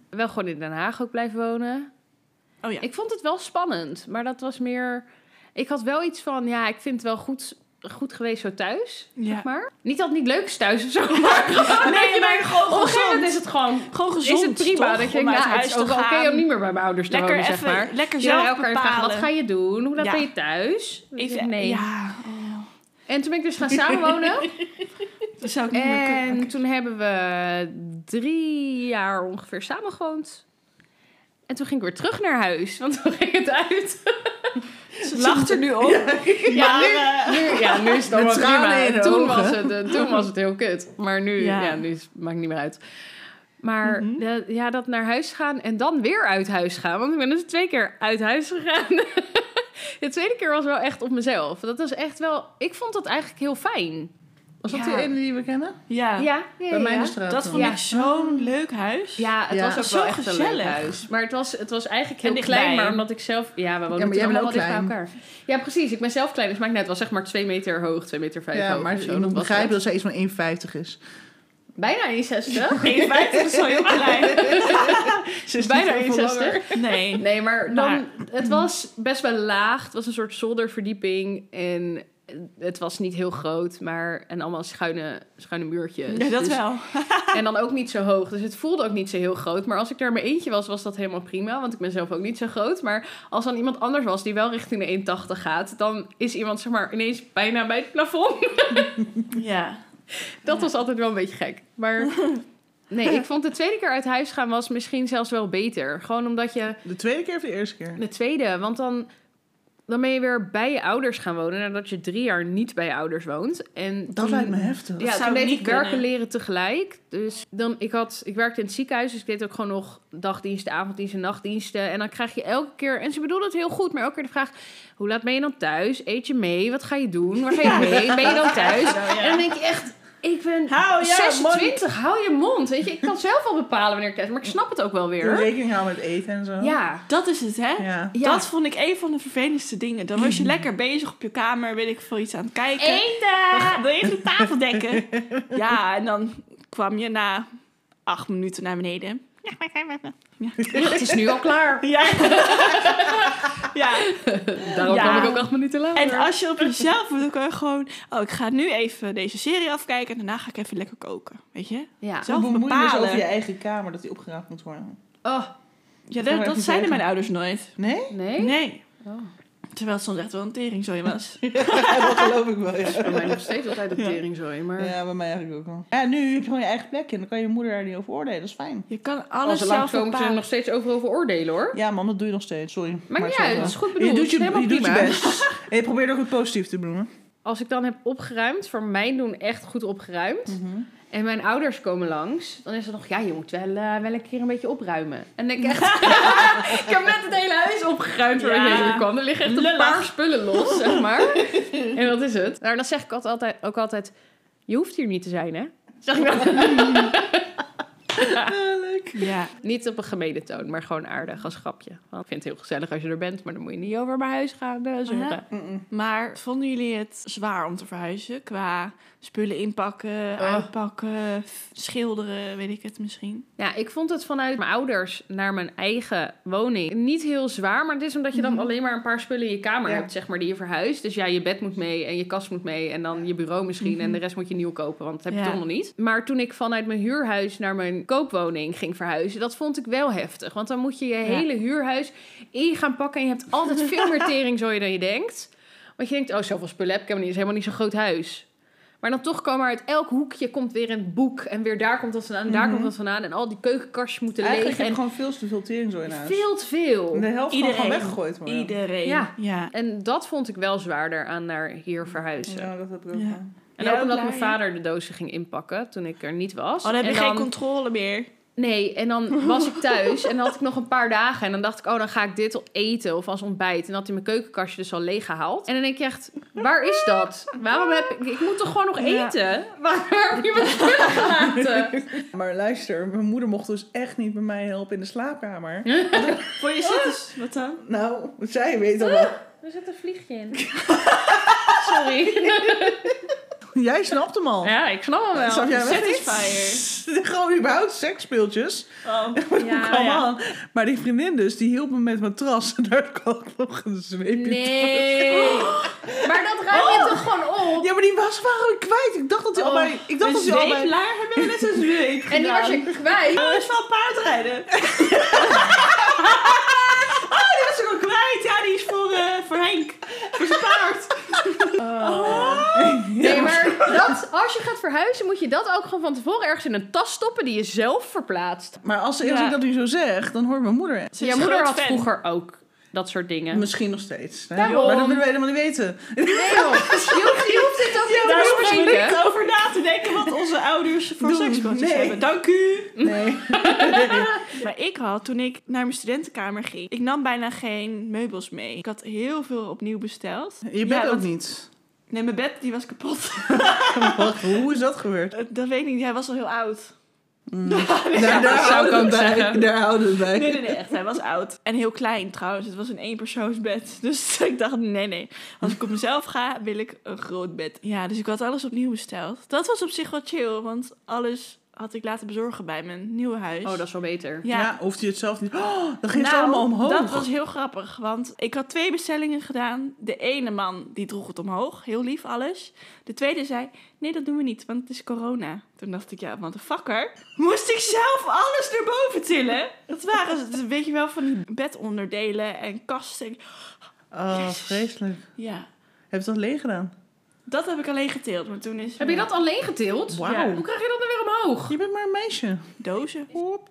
[SPEAKER 2] Wel gewoon in Den Haag ook blijven wonen.
[SPEAKER 3] Oh ja.
[SPEAKER 2] Ik vond het wel spannend, maar dat was meer... Ik had wel iets van, ja, ik vind het wel goed, goed geweest zo thuis,
[SPEAKER 3] ja.
[SPEAKER 2] zeg maar. Niet dat het niet leuk is thuis of zo, maar gewoon... dat je denkt,
[SPEAKER 3] gewoon
[SPEAKER 2] op een gegeven moment
[SPEAKER 3] gezond.
[SPEAKER 2] is het gewoon...
[SPEAKER 3] Gewoon gezond,
[SPEAKER 2] Is het prima
[SPEAKER 3] toch?
[SPEAKER 2] dat je
[SPEAKER 3] Om
[SPEAKER 2] denkt,
[SPEAKER 3] uit
[SPEAKER 2] nou, het
[SPEAKER 3] huis
[SPEAKER 2] is
[SPEAKER 3] te
[SPEAKER 2] ook oké
[SPEAKER 3] gaan.
[SPEAKER 2] om niet meer bij mijn ouders te
[SPEAKER 3] lekker
[SPEAKER 2] wonen,
[SPEAKER 3] even,
[SPEAKER 2] zeg maar.
[SPEAKER 3] lekker
[SPEAKER 2] Je wil
[SPEAKER 3] zelf
[SPEAKER 2] elkaar
[SPEAKER 3] bepalen.
[SPEAKER 2] vragen, wat ga je doen? Hoe laat
[SPEAKER 3] Ja.
[SPEAKER 2] ben je thuis? Dan zeg
[SPEAKER 3] Even,
[SPEAKER 2] ik, nee.
[SPEAKER 3] Ja. Oh.
[SPEAKER 2] En toen ben ik dus gaan samenwonen.
[SPEAKER 3] Dat zou ik niet meer kunnen.
[SPEAKER 2] En toen hebben we drie jaar ongeveer samengewoond. En toen ging ik weer terug naar huis, want toen ging het uit.
[SPEAKER 3] Ze lacht er nu op.
[SPEAKER 2] Ja,
[SPEAKER 3] Maar, eh,
[SPEAKER 2] nu, nu, ja, nu is het allemaal
[SPEAKER 1] Met tranen
[SPEAKER 2] prima.
[SPEAKER 1] in de
[SPEAKER 2] toen,
[SPEAKER 1] ogen.
[SPEAKER 2] was het, eh, toen was het heel kut. Maar nu,
[SPEAKER 3] Ja.
[SPEAKER 2] ja. nu is- maakt het niet meer uit. Maar
[SPEAKER 3] Mhm.
[SPEAKER 2] de- ja, dat naar huis gaan en dan weer uit huis gaan. Want ik ben dus twee keer uit huis gegaan. De tweede keer was wel echt op mezelf. Dat was echt wel... Ik vond dat eigenlijk heel fijn.
[SPEAKER 1] Was dat
[SPEAKER 3] Ja.
[SPEAKER 1] die ene die we kennen?
[SPEAKER 3] Ja.
[SPEAKER 2] Ja, ja,
[SPEAKER 1] Bij mij in
[SPEAKER 2] ja.
[SPEAKER 1] de straat.
[SPEAKER 3] Dat vond
[SPEAKER 2] Ja.
[SPEAKER 3] ik zo'n leuk huis.
[SPEAKER 2] Ja, het
[SPEAKER 1] Ja.
[SPEAKER 2] was ook
[SPEAKER 3] Zo
[SPEAKER 2] wel echt een leuk
[SPEAKER 3] gezellig.
[SPEAKER 2] huis. Maar het was, het was eigenlijk
[SPEAKER 3] En
[SPEAKER 2] heel
[SPEAKER 3] dichtbij.
[SPEAKER 2] klein. Maar omdat ik zelf... Ja, we wonen
[SPEAKER 1] Ja, maar jij
[SPEAKER 2] natuurlijk
[SPEAKER 1] bent
[SPEAKER 2] allemaal
[SPEAKER 1] ook
[SPEAKER 2] dicht bij
[SPEAKER 1] klein.
[SPEAKER 2] elkaar. Ja, precies. Ik ben zelf klein. Dus maakt net wel zeg maar 2 meter hoog, 2 meter vijf
[SPEAKER 1] Ja,
[SPEAKER 2] hoog.
[SPEAKER 1] maar
[SPEAKER 2] of zo.
[SPEAKER 1] je moet
[SPEAKER 2] was
[SPEAKER 1] begrijpen
[SPEAKER 2] het.
[SPEAKER 1] dat zij iets van 1,50 is.
[SPEAKER 2] Bijna 61.
[SPEAKER 3] 1,50 is zo heel klein.
[SPEAKER 1] Ze is
[SPEAKER 2] Bijna
[SPEAKER 1] niet veel
[SPEAKER 2] 61.
[SPEAKER 1] langer.
[SPEAKER 3] Nee.
[SPEAKER 2] Nee, maar dan,
[SPEAKER 3] Maar-
[SPEAKER 2] het was best wel laag. Het was een soort zolderverdieping. En het was niet heel groot, maar... En allemaal schuine, schuine muurtjes.
[SPEAKER 3] Ja, dat
[SPEAKER 2] Dus-
[SPEAKER 3] wel.
[SPEAKER 2] En dan ook niet zo hoog. Dus het voelde ook niet zo heel groot. Maar als ik daar maar eentje was, was dat helemaal prima. Want ik ben zelf ook niet zo groot. Maar als dan iemand anders was die wel richting de 1,80 gaat... dan is iemand zeg maar ineens bijna bij het plafond.
[SPEAKER 3] Ja.
[SPEAKER 2] Dat was altijd wel een beetje gek. Maar nee, ik vond de tweede keer uit huis gaan was misschien zelfs wel beter. Gewoon omdat je...
[SPEAKER 1] De tweede keer of de eerste keer?
[SPEAKER 2] De tweede, want dan, dan ben je weer bij je ouders gaan wonen nadat je drie jaar niet bij je ouders woont. En
[SPEAKER 1] Dat
[SPEAKER 2] toen-
[SPEAKER 1] lijkt me heftig.
[SPEAKER 2] Ja,
[SPEAKER 3] zou
[SPEAKER 2] toen
[SPEAKER 3] ik
[SPEAKER 2] deed
[SPEAKER 3] niet
[SPEAKER 2] ik werken
[SPEAKER 3] kunnen.
[SPEAKER 2] leren tegelijk. Dus dan, ik, had, ik werkte in het ziekenhuis, dus ik deed ook gewoon nog dagdiensten, avonddiensten, nachtdiensten. En dan krijg je elke keer, en ze bedoelde het heel goed, maar elke keer de vraag... Hoe laat ben je dan thuis? Eet je mee? Wat ga je doen? Waar ga je mee? Ben je dan thuis? En dan denk je echt, ik ben
[SPEAKER 3] Hou je
[SPEAKER 2] 26, hou je mond. Weet je, ik kan zelf wel bepalen wanneer ik thuis Maar ik snap het ook wel
[SPEAKER 1] Doe
[SPEAKER 2] weer.
[SPEAKER 1] rekening houden met eten en zo.
[SPEAKER 2] Ja.
[SPEAKER 3] Dat is het, hè?
[SPEAKER 1] Ja.
[SPEAKER 2] Ja. Mm.
[SPEAKER 3] Dat vond ik een van de vervelendste dingen. Dan was je lekker bezig op je kamer, weet ik veel, iets aan het kijken. Wil-
[SPEAKER 2] Eten!
[SPEAKER 3] Wil je even de tafel dekken? Ja, en dan kwam je na acht minuten naar beneden.
[SPEAKER 2] Het is nu al klaar.
[SPEAKER 3] Ja. ja.
[SPEAKER 2] Daarom
[SPEAKER 3] Ja.
[SPEAKER 2] kwam ik ook acht minuten later.
[SPEAKER 3] En als je op jezelf doet, dan kan je gewoon... Oh, ik ga nu even deze serie afkijken en daarna ga ik even lekker koken. Weet je?
[SPEAKER 2] ja.
[SPEAKER 3] Zo.
[SPEAKER 1] Hoe
[SPEAKER 3] zelf
[SPEAKER 1] bemoei je dus
[SPEAKER 3] bepalen.
[SPEAKER 1] over je eigen kamer dat die opgeruimd moet worden?
[SPEAKER 2] Oh,
[SPEAKER 3] Ja,
[SPEAKER 1] kan
[SPEAKER 3] dat,
[SPEAKER 1] ik
[SPEAKER 3] dat
[SPEAKER 1] niet
[SPEAKER 3] zeiden
[SPEAKER 1] tegen.
[SPEAKER 3] mijn ouders nooit.
[SPEAKER 1] Nee?
[SPEAKER 2] Nee?
[SPEAKER 3] Nee.
[SPEAKER 2] Oh.
[SPEAKER 3] Terwijl het soms echt wel een teringzooi was.
[SPEAKER 1] dat geloof ik wel,
[SPEAKER 2] Voor
[SPEAKER 1] ja.
[SPEAKER 2] mij nog steeds altijd een teringzooi, maar...
[SPEAKER 1] Ja, bij mij eigenlijk ook wel. Ja, nu heb je gewoon je eigen plek en dan kan je moeder daar niet over oordelen. Dat is fijn.
[SPEAKER 3] Je kan
[SPEAKER 2] Als
[SPEAKER 3] alles
[SPEAKER 2] ze
[SPEAKER 3] zelf
[SPEAKER 2] langskomen, ze
[SPEAKER 3] bepalen.
[SPEAKER 2] nog steeds overal veroordelen, hoor.
[SPEAKER 1] Ja, mam, dat doe je nog steeds. Sorry.
[SPEAKER 2] Maar niet
[SPEAKER 1] zo
[SPEAKER 2] uit,
[SPEAKER 1] wel.
[SPEAKER 2] het is goed
[SPEAKER 1] Je
[SPEAKER 2] bedoeld.
[SPEAKER 1] doet je,
[SPEAKER 2] helemaal
[SPEAKER 1] je, doet je
[SPEAKER 2] prima.
[SPEAKER 1] best. En je probeert ook het positief te benoemen.
[SPEAKER 2] Als ik dan heb opgeruimd, voor mijn doen echt goed opgeruimd... en mijn ouders komen langs, dan is het nog... ja, je moet wel, eh, wel een keer een beetje opruimen. En ik echt... ik heb net het hele huis opgeruimd waar
[SPEAKER 3] Ja.
[SPEAKER 2] ik heen kwam. Er liggen echt een
[SPEAKER 3] Lullig.
[SPEAKER 2] paar spullen los, zeg maar. en dat is het. Maar dan zeg ik altijd, ook altijd... je hoeft hier niet te zijn, hè? Zeg ik dan.
[SPEAKER 3] Ja.
[SPEAKER 2] Niet op een gemene toon, maar gewoon aardig als grapje. Want ik vind het heel gezellig als je er bent, maar dan moet je niet over mijn huis gaan eh, zeuren.
[SPEAKER 3] Ja. Maar vonden jullie het zwaar om te verhuizen? Qua spullen inpakken, uitpakken, f- schilderen, weet ik het misschien.
[SPEAKER 2] Ja, ik vond het vanuit mijn ouders naar mijn eigen woning niet heel zwaar. Maar het is omdat je dan alleen maar een paar spullen in je kamer
[SPEAKER 1] Ja.
[SPEAKER 2] hebt, zeg maar, die je verhuist. Dus ja, je bed moet mee en je kast moet mee en dan je bureau misschien. En de rest moet je nieuw kopen, want dat heb je
[SPEAKER 3] Ja.
[SPEAKER 2] toch nog niet. Maar toen ik vanuit mijn huurhuis naar mijn koopwoning ging verhuizen, dat vond ik wel heftig. Want dan moet je je hele huurhuis in gaan pakken. En je hebt altijd veel meer tering zo je dan je denkt. Want je denkt, oh, zoveel spullen heb ik helemaal niet. Het is helemaal niet zo'n groot huis. Maar dan toch komen er uit elk hoekje komt weer een boek. En weer daar komt dat vandaan, en daar
[SPEAKER 1] Mhm.
[SPEAKER 2] komt dat vandaan. En al die keukenkastjes moeten
[SPEAKER 1] Eigenlijk
[SPEAKER 2] leeg.
[SPEAKER 1] heb je
[SPEAKER 2] En
[SPEAKER 1] gewoon veel te veel tering zo in huis.
[SPEAKER 2] veel te veel.
[SPEAKER 1] De helft kan gewoon
[SPEAKER 3] Iedereen.
[SPEAKER 1] weggegooid worden.
[SPEAKER 3] Iedereen.
[SPEAKER 2] Ja.
[SPEAKER 3] ja.
[SPEAKER 2] En dat vond ik wel zwaarder aan naar hier verhuizen.
[SPEAKER 1] Ja, dat heb ik ook.
[SPEAKER 3] Ja.
[SPEAKER 1] wel.
[SPEAKER 2] En
[SPEAKER 3] Jij
[SPEAKER 2] ook
[SPEAKER 3] ook
[SPEAKER 2] omdat
[SPEAKER 3] klaar,
[SPEAKER 2] mijn
[SPEAKER 3] ja?
[SPEAKER 2] vader de dozen ging inpakken toen ik er niet was.
[SPEAKER 3] Oh, dan heb
[SPEAKER 2] en
[SPEAKER 3] je geen controle meer.
[SPEAKER 2] Nee, en dan was ik thuis en dan had ik nog een paar dagen. En dan dacht ik, oh, dan ga ik dit eten of als ontbijt. En had hij mijn keukenkastje dus al leeg gehaald. En dan denk je echt, waar is dat? Waarom heb ik... Ik moet toch gewoon nog
[SPEAKER 3] Ja.
[SPEAKER 2] eten? Waar heb je mijn spullen gelaten?
[SPEAKER 1] Maar luister, mijn moeder mocht dus echt niet bij mij helpen in de slaapkamer.
[SPEAKER 3] Voor je zitters. Wat dan?
[SPEAKER 1] Nou, zij weet al wel.
[SPEAKER 2] Er zit een vliegje in. Sorry.
[SPEAKER 1] Jij snapt hem al.
[SPEAKER 2] Ja, ik snap hem wel.
[SPEAKER 1] Snap jij wel?
[SPEAKER 3] Satisfier.
[SPEAKER 1] Gewoon überhaupt seksspeeltjes.
[SPEAKER 3] Oh.
[SPEAKER 2] Ah, Ja,
[SPEAKER 1] Come
[SPEAKER 3] ja.
[SPEAKER 1] on. Maar die vriendin dus, die hielp me met mijn tras. En daar kwam nog een zweepje
[SPEAKER 2] Nee. Maar dat ruim je toch gewoon op?
[SPEAKER 1] Ja, maar die was gewoon kwijt. Ik dacht dat hij
[SPEAKER 3] Oh,
[SPEAKER 1] al bij... Ik dacht
[SPEAKER 3] een
[SPEAKER 1] dat hij al bij...
[SPEAKER 3] zweeplaar hebben we net een zweep
[SPEAKER 2] En die was
[SPEAKER 3] gedaan.
[SPEAKER 2] je kwijt.
[SPEAKER 3] Oh, dat is van paardrijden. oh, die was ik al kwijt. Ja, die is voor, eh, voor Henk. Voor zijn paard.
[SPEAKER 2] Nee, maar dat, als je gaat verhuizen, moet je dat ook gewoon van tevoren ergens in een tas stoppen die je zelf verplaatst.
[SPEAKER 1] Maar als, als
[SPEAKER 3] Ja.
[SPEAKER 1] ik dat nu zo zeg, dan hoort mijn moeder het.
[SPEAKER 3] Ze is
[SPEAKER 2] Jouw
[SPEAKER 3] een
[SPEAKER 2] moeder
[SPEAKER 3] groot
[SPEAKER 2] had
[SPEAKER 3] fan.
[SPEAKER 2] vroeger ook dat soort dingen.
[SPEAKER 1] Misschien nog steeds. hè?
[SPEAKER 2] Daarom.
[SPEAKER 1] Maar dat willen we helemaal niet weten.
[SPEAKER 2] Nee joh, je hoeft, je hoeft dit ook
[SPEAKER 3] Daar
[SPEAKER 2] niet te
[SPEAKER 3] hoef ik
[SPEAKER 2] bespreken.
[SPEAKER 3] niet over na te denken wat onze ouders voor
[SPEAKER 1] Doen.
[SPEAKER 3] seksbotjes
[SPEAKER 1] Nee.
[SPEAKER 3] hebben. Dank u.
[SPEAKER 1] Nee.
[SPEAKER 3] Maar ik had, toen ik naar mijn studentenkamer ging, ik nam bijna geen meubels mee. Ik had heel veel opnieuw besteld.
[SPEAKER 1] Je
[SPEAKER 3] Ja,
[SPEAKER 1] bent ook
[SPEAKER 3] dat-
[SPEAKER 1] niet.
[SPEAKER 3] Nee, mijn bed die was kapot.
[SPEAKER 1] Wat, hoe is dat gebeurd? Mm.
[SPEAKER 3] dat weet ik niet, hij was al heel oud.
[SPEAKER 1] daar, daar
[SPEAKER 2] zou
[SPEAKER 1] houden
[SPEAKER 2] ik ook
[SPEAKER 1] we het bij.
[SPEAKER 2] zeggen.
[SPEAKER 1] Daar houden we het bij.
[SPEAKER 3] Nee, nee, nee, echt. Hij was oud. En heel klein trouwens. Het was een eenpersoonsbed. Dus ik dacht, nee, nee. Als ik op mezelf ga, wil ik een groot bed. Ja, dus ik had alles opnieuw besteld. Dat was op zich wel chill, want alles had ik laten bezorgen bij mijn nieuwe huis.
[SPEAKER 2] Oh, dat is wel beter.
[SPEAKER 1] Ja.
[SPEAKER 3] Ja,
[SPEAKER 1] hoeft hij het zelf niet. Oh, dan ging
[SPEAKER 3] Nou,
[SPEAKER 1] ze allemaal omhoog.
[SPEAKER 3] dat was heel grappig. Want ik had twee bestellingen gedaan. De ene man, die droeg het omhoog. Heel lief, alles. De tweede zei, nee, dat doen we niet, want het is corona. Toen dacht ik, ja, wat een fucker. Moest ik zelf alles naar boven tillen? Dat waren, ze, dus weet je wel, van die bedonderdelen en kasten.
[SPEAKER 1] Oh,
[SPEAKER 3] Jezus.
[SPEAKER 1] vreselijk.
[SPEAKER 3] Ja,
[SPEAKER 1] Heb je dat leeg gedaan?
[SPEAKER 3] dat heb ik alleen geteeld. Maar toen is...
[SPEAKER 2] Heb je dat alleen getild?
[SPEAKER 1] Wauw.
[SPEAKER 2] Hoe krijg je dat dan weer omhoog?
[SPEAKER 1] Je bent maar een meisje.
[SPEAKER 3] Dozen.
[SPEAKER 1] Hop.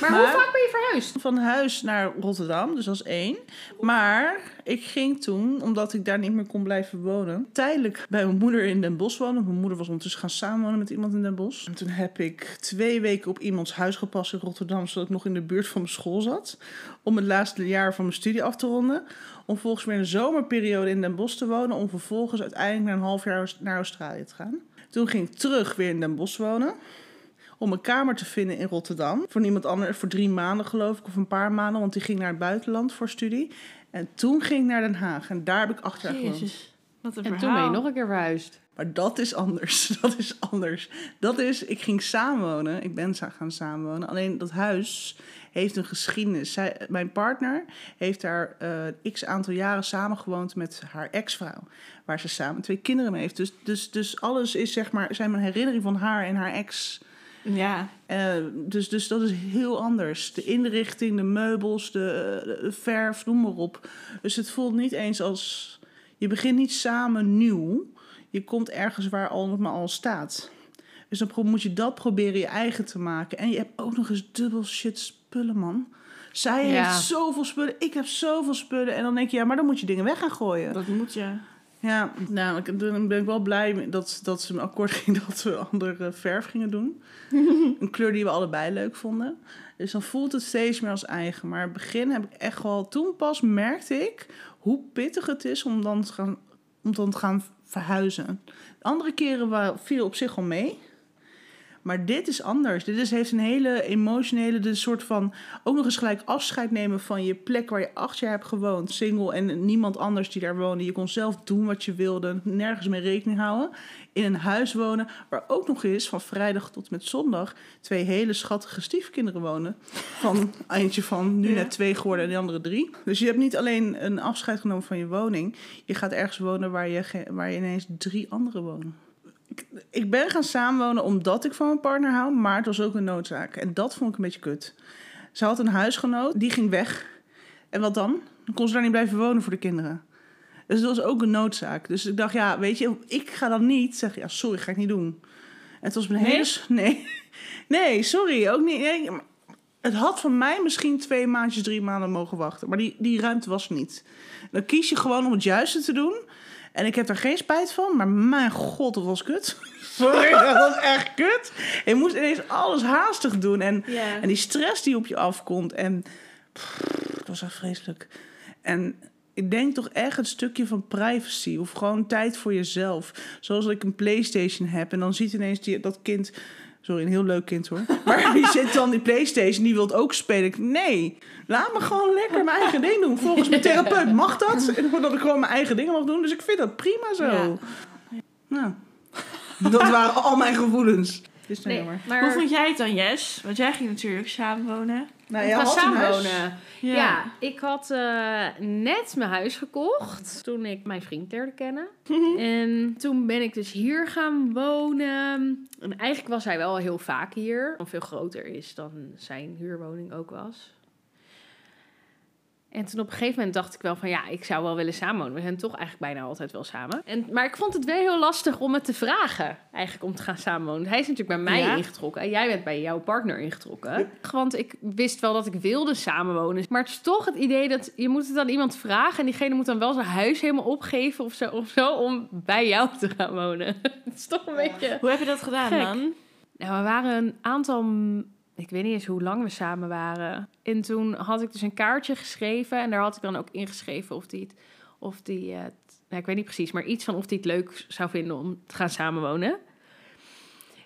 [SPEAKER 2] Maar,
[SPEAKER 1] Maar-
[SPEAKER 2] hoe vaak ben je verhuisd?
[SPEAKER 1] Van huis naar Rotterdam, dus als één. Maar ik ging toen, omdat ik daar niet meer kon blijven wonen, tijdelijk bij mijn moeder in Den Bosch wonen. Mijn moeder was ondertussen gaan samenwonen met iemand in Den Bosch. En toen heb ik twee weken op iemands huis gepast in Rotterdam, zodat ik nog in de buurt van mijn school zat. Om het laatste jaar van mijn studie af te ronden. Om volgens mij een zomerperiode in Den Bosch te wonen. Om vervolgens uiteindelijk na een half jaar naar Australië te gaan. Toen ging ik terug weer in Den Bosch wonen om een kamer te vinden in Rotterdam. Voor niemand anders, voor drie maanden geloof ik, of een paar maanden, want die ging naar het buitenland voor studie. En toen ging ik naar Den Haag en daar heb ik acht jaar gewoond.
[SPEAKER 3] Jezus, wat een
[SPEAKER 2] En toen ben
[SPEAKER 3] verhaal.
[SPEAKER 2] je nog een keer verhuisd.
[SPEAKER 1] Maar dat is anders, dat is anders. Dat is, ik ging samenwonen, ik ben sa- gaan samenwonen. Alleen dat huis heeft een geschiedenis. Zij, mijn partner heeft daar eh, x aantal jaren samengewoond met haar ex-vrouw. Waar ze samen twee kinderen mee heeft. Dus, dus, dus alles is zeg maar, zijn mijn herinnering van haar en haar ex
[SPEAKER 3] Ja.
[SPEAKER 1] Eh, dus, dus dat is heel anders. De inrichting, de meubels, de, de verf, noem maar op. Dus het voelt niet eens als. Je begint niet samen nieuw. Je komt ergens waar al nog maar al staat. Dus dan pro- moet je dat proberen je eigen te maken. En je hebt ook nog eens dubbel shit spullen, man. Zij
[SPEAKER 2] Ja.
[SPEAKER 1] heeft zoveel spullen, ik heb zoveel spullen. En dan denk je, ja, maar dan moet je dingen weg gaan gooien.
[SPEAKER 3] Dat moet je.
[SPEAKER 1] Ja, nou, ik- dan ben ik wel blij dat, dat ze me akkoord ging dat we andere verf gingen doen. een kleur die we allebei leuk vonden. Dus dan voelt het steeds meer als eigen. Maar in het begin heb ik echt wel... Toen pas merkte ik hoe pittig het is om dan te gaan, om dan te gaan verhuizen. Andere keren wa- viel op zich al mee. Maar dit is anders. Dit is, heeft een hele emotionele, dit is soort van ook nog eens gelijk afscheid nemen van je plek waar je acht jaar hebt gewoond, single en niemand anders die daar woonde. Je kon zelf doen wat je wilde, nergens mee rekening houden. In een huis wonen waar ook nog eens van vrijdag tot en met zondag twee hele schattige stiefkinderen wonen. Van eentje van nu
[SPEAKER 3] Ja.
[SPEAKER 1] net twee geworden en de andere drie. Dus je hebt niet alleen een afscheid genomen van je woning, je gaat ergens wonen waar je, ge- waar je ineens drie anderen wonen. Ik- Ik ben gaan samenwonen omdat ik van mijn partner hou, maar het was ook een noodzaak. En dat vond ik een beetje kut. Ze had een huisgenoot, die ging weg. En wat dan? Dan kon ze daar niet blijven wonen voor de kinderen. Dus dat was ook een noodzaak. Dus ik dacht, ja, weet je, ik ga dan niet zeggen, ja, sorry, ga ik niet doen. En het was mijn
[SPEAKER 2] Nee?
[SPEAKER 1] hele... s- Nee. nee, sorry, ook niet. Nee, maar het had van mij misschien twee maandjes, drie maanden mogen wachten. Maar die, die ruimte was er niet. Dan kies je gewoon om het juiste te doen. En ik heb er geen spijt van, maar mijn god, dat was kut. Sorry, dat was echt kut. Je moest ineens alles haastig doen. En
[SPEAKER 3] Ja.
[SPEAKER 1] en die stress die op je afkomt. En pff, dat was echt vreselijk. En ik denk toch echt het stukje van privacy. Of gewoon tijd voor jezelf. Zoals dat ik een Playstation heb. En dan ziet ineens die, dat kind... Sorry, een heel leuk kind hoor. Maar die zit dan die Playstation, die wil ook spelen. Ik- Nee, laat me gewoon lekker mijn eigen ding doen. Volgens mijn therapeut mag dat. En dat ik gewoon mijn eigen dingen mag doen. Dus ik vind dat prima zo.
[SPEAKER 3] Ja.
[SPEAKER 1] Nou, dat waren al mijn gevoelens. Is nou
[SPEAKER 2] Nee,
[SPEAKER 1] jammer.
[SPEAKER 2] maar...
[SPEAKER 3] Hoe vond jij het dan, Jess? Want jij ging natuurlijk samenwonen.
[SPEAKER 1] Nou,
[SPEAKER 2] Ik
[SPEAKER 1] jij
[SPEAKER 2] ga
[SPEAKER 1] had een huis.
[SPEAKER 2] samenwonen. Ja. ik had eh, net mijn huis gekocht toen ik mijn vriend leerde kennen. en toen ben ik dus hier gaan wonen. En eigenlijk was hij wel heel vaak hier. Omdat veel groter is dan zijn huurwoning ook was. En toen op een gegeven moment dacht ik wel van ja, ik zou wel willen samenwonen. We zijn toch eigenlijk bijna altijd wel samen. En, maar ik vond het wel heel lastig om het te vragen, eigenlijk om te gaan samenwonen. Hij is natuurlijk bij mij
[SPEAKER 3] Ja.
[SPEAKER 2] ingetrokken en jij bent bij jouw partner ingetrokken. Want ik wist wel dat ik wilde samenwonen. Maar het is toch het idee dat je moet het aan iemand vragen en diegene moet dan wel zijn huis helemaal opgeven of zo, of zo om bij jou te gaan wonen. het is toch een beetje...
[SPEAKER 3] Hoe heb je dat gedaan
[SPEAKER 2] Gek.
[SPEAKER 3] dan?
[SPEAKER 2] Nou, we waren een aantal, m- ik weet niet eens hoe lang we samen waren. En toen had ik dus een kaartje geschreven en daar had ik dan ook ingeschreven of die het, of die, eh, t- nou, ik weet niet precies, maar iets van of die het leuk zou vinden om te gaan samenwonen.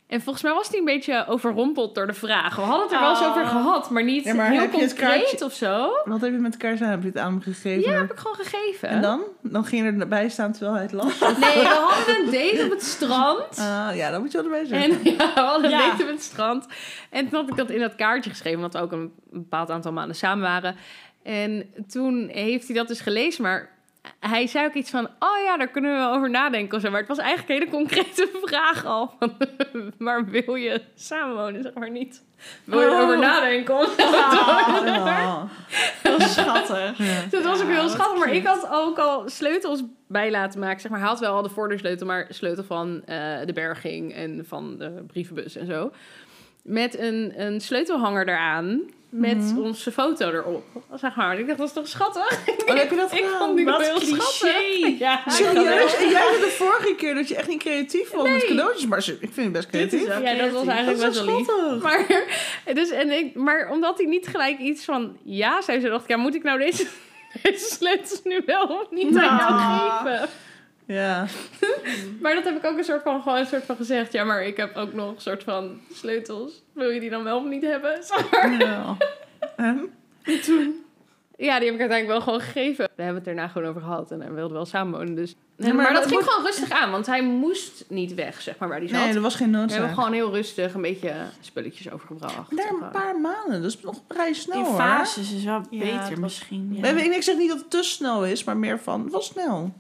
[SPEAKER 2] En volgens mij was die een beetje overrompeld door de vragen. We hadden het er wel eens
[SPEAKER 3] Oh.
[SPEAKER 2] over gehad, maar niet
[SPEAKER 1] Ja, maar
[SPEAKER 2] heel
[SPEAKER 1] heb je het
[SPEAKER 2] concreet
[SPEAKER 1] kaartje-
[SPEAKER 2] of zo.
[SPEAKER 1] Wat heb je met elkaar gedaan? Heb je het aan hem gegeven?
[SPEAKER 2] Ja, heb ik gewoon gegeven.
[SPEAKER 1] En dan? Dan ging je erbij staan terwijl hij het las?
[SPEAKER 2] Nee, we hadden een date op het strand.
[SPEAKER 1] Ah, ja, dan moet je wel erbij zijn.
[SPEAKER 2] En ja, we hadden
[SPEAKER 3] Ja.
[SPEAKER 2] weten met het strand. En toen had ik dat in dat kaartje geschreven, want we ook een bepaald aantal maanden samen waren. En toen heeft hij dat dus gelezen, maar hij zei ook iets van: Oh ja, daar kunnen we wel over nadenken. Of zo. Maar het was eigenlijk een hele concrete vraag al. Van, maar wil je samenwonen? Zeg maar niet. Wil je
[SPEAKER 3] Oh.
[SPEAKER 2] erover nadenken? Of zo.
[SPEAKER 1] Ah.
[SPEAKER 3] Heel schattig.
[SPEAKER 1] Ja.
[SPEAKER 2] Dat was ook
[SPEAKER 3] Ja,
[SPEAKER 2] heel
[SPEAKER 3] wat
[SPEAKER 2] schattig. Maar
[SPEAKER 3] cute.
[SPEAKER 2] ik had ook al sleutels bij laten maken. Zeg maar, hij had wel al de voordeursleutel, maar sleutel van eh, de berging en van de brievenbus en zo. Met een, een sleutelhanger eraan. Met onze foto erop. Zeg maar. Ik dacht, dat is toch schattig?
[SPEAKER 1] Mhm. Oh, heb je dat
[SPEAKER 2] ik
[SPEAKER 1] gedaan?
[SPEAKER 2] vond die
[SPEAKER 3] Wat
[SPEAKER 2] heel
[SPEAKER 3] cliché.
[SPEAKER 2] schattig. Ja,
[SPEAKER 1] Serieus? En jij zei de vorige keer dat je echt niet creatief was met
[SPEAKER 2] Nee.
[SPEAKER 1] cadeautjes. Maar ze- ik vind het best
[SPEAKER 3] Dit is
[SPEAKER 1] creatief.
[SPEAKER 3] wel-
[SPEAKER 2] Ja, dat was eigenlijk
[SPEAKER 1] Dat
[SPEAKER 2] best
[SPEAKER 1] is
[SPEAKER 2] wel
[SPEAKER 1] wel schattig.
[SPEAKER 2] lief. Maar, dus, en ik, maar omdat hij niet gelijk iets van ja zei, ze dacht ik, ja, moet ik nou deze, deze sleutels nu wel of niet aan jou
[SPEAKER 1] Nou.
[SPEAKER 2] geven?
[SPEAKER 1] Ja.
[SPEAKER 2] Maar dat heb ik ook een soort van, gewoon een soort van gezegd. Ja, maar ik heb ook nog een soort van sleutels. Wil je die dan wel of niet hebben? Zeg maar.
[SPEAKER 1] ja. En?
[SPEAKER 2] Ja, die heb ik uiteindelijk wel gewoon gegeven. We hebben het daarna gewoon over gehad en hij wilde wel samenwonen. Dus.
[SPEAKER 1] maar
[SPEAKER 2] maar, dat
[SPEAKER 1] dat
[SPEAKER 2] ging
[SPEAKER 1] moet-
[SPEAKER 2] gewoon rustig aan, want hij moest niet weg, zeg maar, waar hij zat.
[SPEAKER 1] Nee, er was geen
[SPEAKER 2] we hebben
[SPEAKER 1] noodzaak.
[SPEAKER 2] gewoon heel rustig een beetje spulletjes overgebracht.
[SPEAKER 1] Daar
[SPEAKER 2] En,
[SPEAKER 1] een
[SPEAKER 2] eh,
[SPEAKER 1] paar maanden. Dat is nog vrij snel
[SPEAKER 3] In
[SPEAKER 1] hoor.
[SPEAKER 3] fases is wel
[SPEAKER 2] Ja, het
[SPEAKER 3] beter
[SPEAKER 2] was-
[SPEAKER 3] misschien.
[SPEAKER 1] Nee, Ik ik zeg niet dat het te snel is, maar meer van, het was snel.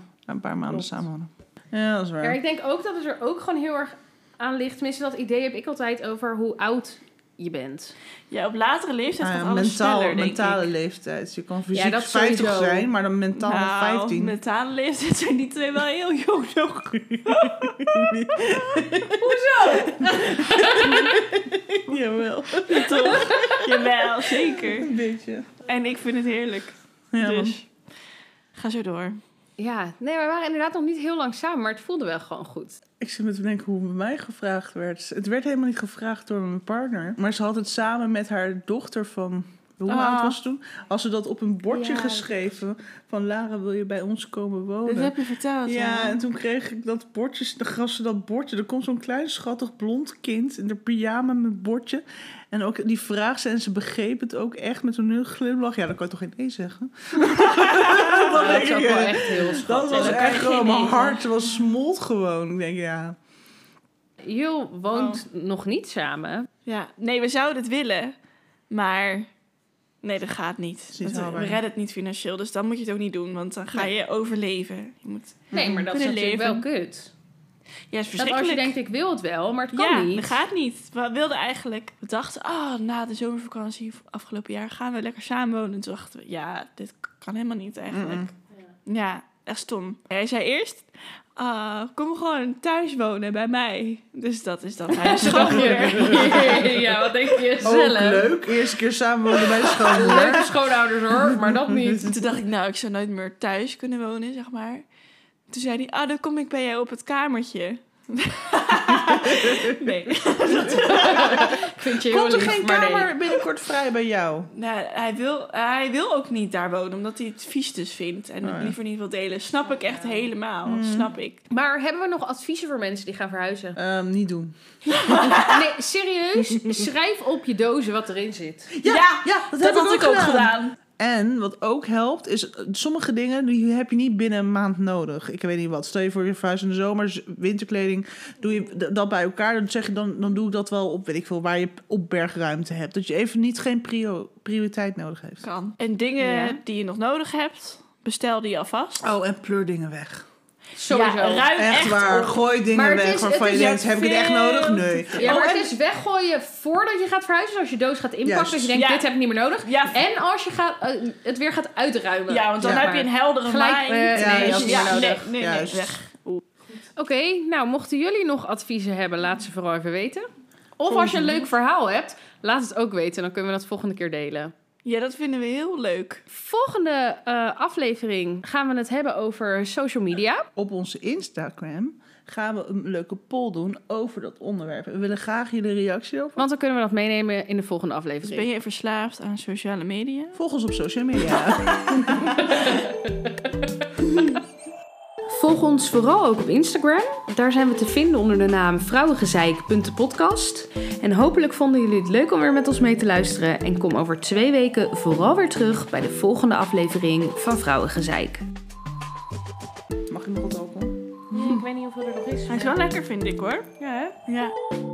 [SPEAKER 1] Na een paar maanden
[SPEAKER 2] Klopt.
[SPEAKER 1] samenwonen. Ja, dat is
[SPEAKER 2] Ja,
[SPEAKER 1] waar.
[SPEAKER 2] ik denk ook dat het er ook gewoon heel erg aan ligt. Tenminste, dat idee heb ik altijd over hoe oud je bent.
[SPEAKER 3] Ja, op latere leeftijd
[SPEAKER 1] Nou
[SPEAKER 3] gaat
[SPEAKER 1] ja,
[SPEAKER 3] alles
[SPEAKER 1] mentaal,
[SPEAKER 3] sneller, denk
[SPEAKER 1] mentale
[SPEAKER 3] ik.
[SPEAKER 1] leeftijd. Je kan fysiek
[SPEAKER 2] dat
[SPEAKER 1] 50
[SPEAKER 2] sowieso.
[SPEAKER 1] zijn, maar dan mentaal nog
[SPEAKER 3] Nou,
[SPEAKER 1] 15.
[SPEAKER 3] mentale leeftijd zijn die twee wel heel jong nog.
[SPEAKER 1] Jawel,
[SPEAKER 3] Toch? Jawel, zeker.
[SPEAKER 1] een beetje.
[SPEAKER 3] En ik vind het heerlijk.
[SPEAKER 1] Ja, want-
[SPEAKER 3] dus ga zo door.
[SPEAKER 2] Ja, nee, wij waren inderdaad nog niet heel lang samen, maar het voelde wel gewoon goed.
[SPEAKER 1] Ik zit me te denken hoe het bij mij gevraagd werd. Het werd helemaal niet gevraagd door mijn partner. Maar ze had het samen met haar dochter van... Hoe
[SPEAKER 3] Ah.
[SPEAKER 1] oud was ze toen? Had ze dat op een bordje
[SPEAKER 2] Ja.
[SPEAKER 1] geschreven. Van Lara, wil je bij ons komen wonen?
[SPEAKER 3] Dat heb je verteld.
[SPEAKER 1] Ja, en toen kreeg ik dat bordje, dan gaf ze dat bordje. Er komt zo'n klein schattig blond kind in de pyjama met bordje. En ook die vraag ze en ze begreep het ook echt met een heel glimlach. Ja, dan kan je toch geen nee zeggen? dat
[SPEAKER 2] dat
[SPEAKER 1] denk
[SPEAKER 2] is
[SPEAKER 1] ik,
[SPEAKER 2] ook wel
[SPEAKER 1] ja.
[SPEAKER 2] echt heel
[SPEAKER 1] Dat
[SPEAKER 2] schattig.
[SPEAKER 1] was
[SPEAKER 3] dan kan je
[SPEAKER 1] echt
[SPEAKER 3] geen
[SPEAKER 1] gewoon, mijn
[SPEAKER 3] nee zeggen.
[SPEAKER 1] hart was smolt gewoon. Ik denk, ja.
[SPEAKER 2] Jul woont nog niet samen.
[SPEAKER 3] Ja, nee, we zouden het willen, maar nee, dat gaat niet.
[SPEAKER 1] is niet
[SPEAKER 3] Dat- we
[SPEAKER 1] haalbaar.
[SPEAKER 3] redden het niet financieel, dus dan moet je het ook niet doen, want dan ga
[SPEAKER 2] Nee.
[SPEAKER 3] je overleven. Je moet...
[SPEAKER 2] Nee, maar dat is
[SPEAKER 3] Kunnen
[SPEAKER 2] natuurlijk wel
[SPEAKER 3] leven.
[SPEAKER 2] kut.
[SPEAKER 3] Ja, is
[SPEAKER 2] Dat als je
[SPEAKER 3] verschrikkelijk.
[SPEAKER 2] denkt, ik wil het wel, maar het kan
[SPEAKER 3] ja,
[SPEAKER 2] niet.
[SPEAKER 3] dat gaat niet. We wilden eigenlijk, we dachten, oh, na de zomervakantie afgelopen jaar gaan we lekker samen wonen. Toen dachten we, ja, dit kan helemaal niet eigenlijk. Ja, echt stom. Hij zei eerst, ah, kom gewoon thuis wonen bij mij. Dus dat is dan mijn schoonmoeder.
[SPEAKER 2] ja, wat denk je
[SPEAKER 1] Ook
[SPEAKER 2] zelf?
[SPEAKER 1] leuk. Eerste keer samen wonen bij de schoonmoeder.
[SPEAKER 2] Leuke schoonouders hoor, maar dat niet.
[SPEAKER 3] En toen dacht ik, nou, ik zou nooit meer thuis kunnen wonen, zeg maar. Toen zei hij, ah, dan kom ik bij jou op het kamertje. nee.
[SPEAKER 2] Ik vind je heel
[SPEAKER 1] Komt er
[SPEAKER 2] lief,
[SPEAKER 1] geen
[SPEAKER 2] maar nee.
[SPEAKER 1] kamer binnenkort vrij bij jou?
[SPEAKER 3] Nou, hij, wil, hij wil ook niet daar wonen, omdat hij het vies dus vindt. En
[SPEAKER 1] Oh,
[SPEAKER 3] het
[SPEAKER 1] ja.
[SPEAKER 3] liever niet wil delen. Snap ik echt helemaal.
[SPEAKER 1] Mm.
[SPEAKER 3] Snap ik.
[SPEAKER 2] Maar hebben we nog adviezen voor mensen die gaan verhuizen?
[SPEAKER 1] Ehm, niet doen.
[SPEAKER 2] Nee, serieus? Schrijf op je dozen wat erin zit.
[SPEAKER 1] Ja, ja, dat, heb ik ook gedaan.
[SPEAKER 3] gedaan.
[SPEAKER 1] En wat ook helpt, is eh, sommige dingen die heb je niet binnen een maand nodig. Ik weet niet wat. Stel je voor je verhuis in de zomer, z- winterkleding. Doe je d- dat bij elkaar, dan zeg je dan, dan doe ik dat wel op, weet ik veel, waar je opbergruimte hebt. Dat je even niet geen prio- prioriteit nodig heeft.
[SPEAKER 3] Kan. En dingen
[SPEAKER 2] Ja.
[SPEAKER 3] die je nog nodig hebt, bestel die alvast.
[SPEAKER 1] Oh, en pleur dingen weg.
[SPEAKER 2] Sowieso.
[SPEAKER 3] Ja, ruim
[SPEAKER 1] Echt,
[SPEAKER 3] echt,
[SPEAKER 1] waar,
[SPEAKER 3] op.
[SPEAKER 1] gooi dingen
[SPEAKER 2] Maar het
[SPEAKER 1] weg
[SPEAKER 2] is-
[SPEAKER 1] waarvan
[SPEAKER 2] het
[SPEAKER 1] je
[SPEAKER 2] is
[SPEAKER 1] denkt, heb ik het echt
[SPEAKER 3] veel
[SPEAKER 1] nodig?
[SPEAKER 3] te
[SPEAKER 1] Nee.
[SPEAKER 2] Ja,
[SPEAKER 1] Oh,
[SPEAKER 2] maar
[SPEAKER 1] en-
[SPEAKER 2] het is weggooien voordat je gaat verhuizen. Dus Als je doos gaat inpakken,
[SPEAKER 1] Juist.
[SPEAKER 2] dat je denkt,
[SPEAKER 3] Ja.
[SPEAKER 2] dit heb ik niet meer nodig.
[SPEAKER 3] Ja,
[SPEAKER 2] En als je gaat, eh, het weer gaat uitruimen.
[SPEAKER 3] ja, want dan
[SPEAKER 1] Ja,
[SPEAKER 3] heb je een heldere
[SPEAKER 2] Gelijk,
[SPEAKER 3] lijn.
[SPEAKER 2] eh,
[SPEAKER 1] Ja,
[SPEAKER 3] nee,
[SPEAKER 1] dat is
[SPEAKER 3] ja,
[SPEAKER 1] niet
[SPEAKER 3] nee,
[SPEAKER 1] nodig.
[SPEAKER 3] nee, nee,
[SPEAKER 1] Juist.
[SPEAKER 3] weg.
[SPEAKER 2] Oké, nou, mochten jullie nog adviezen hebben, laat ze vooral even weten. Of als je een leuk verhaal hebt, laat het ook weten. Dan kunnen we dat volgende keer delen.
[SPEAKER 3] Ja, dat vinden we heel leuk.
[SPEAKER 2] Volgende eh, aflevering gaan we het hebben over social media.
[SPEAKER 1] op onze Instagram gaan we een leuke poll doen over dat onderwerp. We willen graag jullie reactie op.
[SPEAKER 2] Want dan kunnen we dat meenemen in de volgende
[SPEAKER 3] Dus
[SPEAKER 2] aflevering.
[SPEAKER 3] ben je verslaafd aan sociale media?
[SPEAKER 1] Volg ons op social media.
[SPEAKER 2] Volg ons vooral ook op Instagram. Daar zijn we te vinden onder de naam vrouwengezeik.podcast. En hopelijk vonden jullie het leuk om weer met ons mee te luisteren. En kom over twee weken vooral weer terug bij de volgende aflevering van Vrouwengezeik.
[SPEAKER 1] Mag ik nog wat alcohol?
[SPEAKER 2] Ik weet niet hoeveel er nog is.
[SPEAKER 3] Hij is wel lekker, vind ik hoor. Ja, hè? Ja.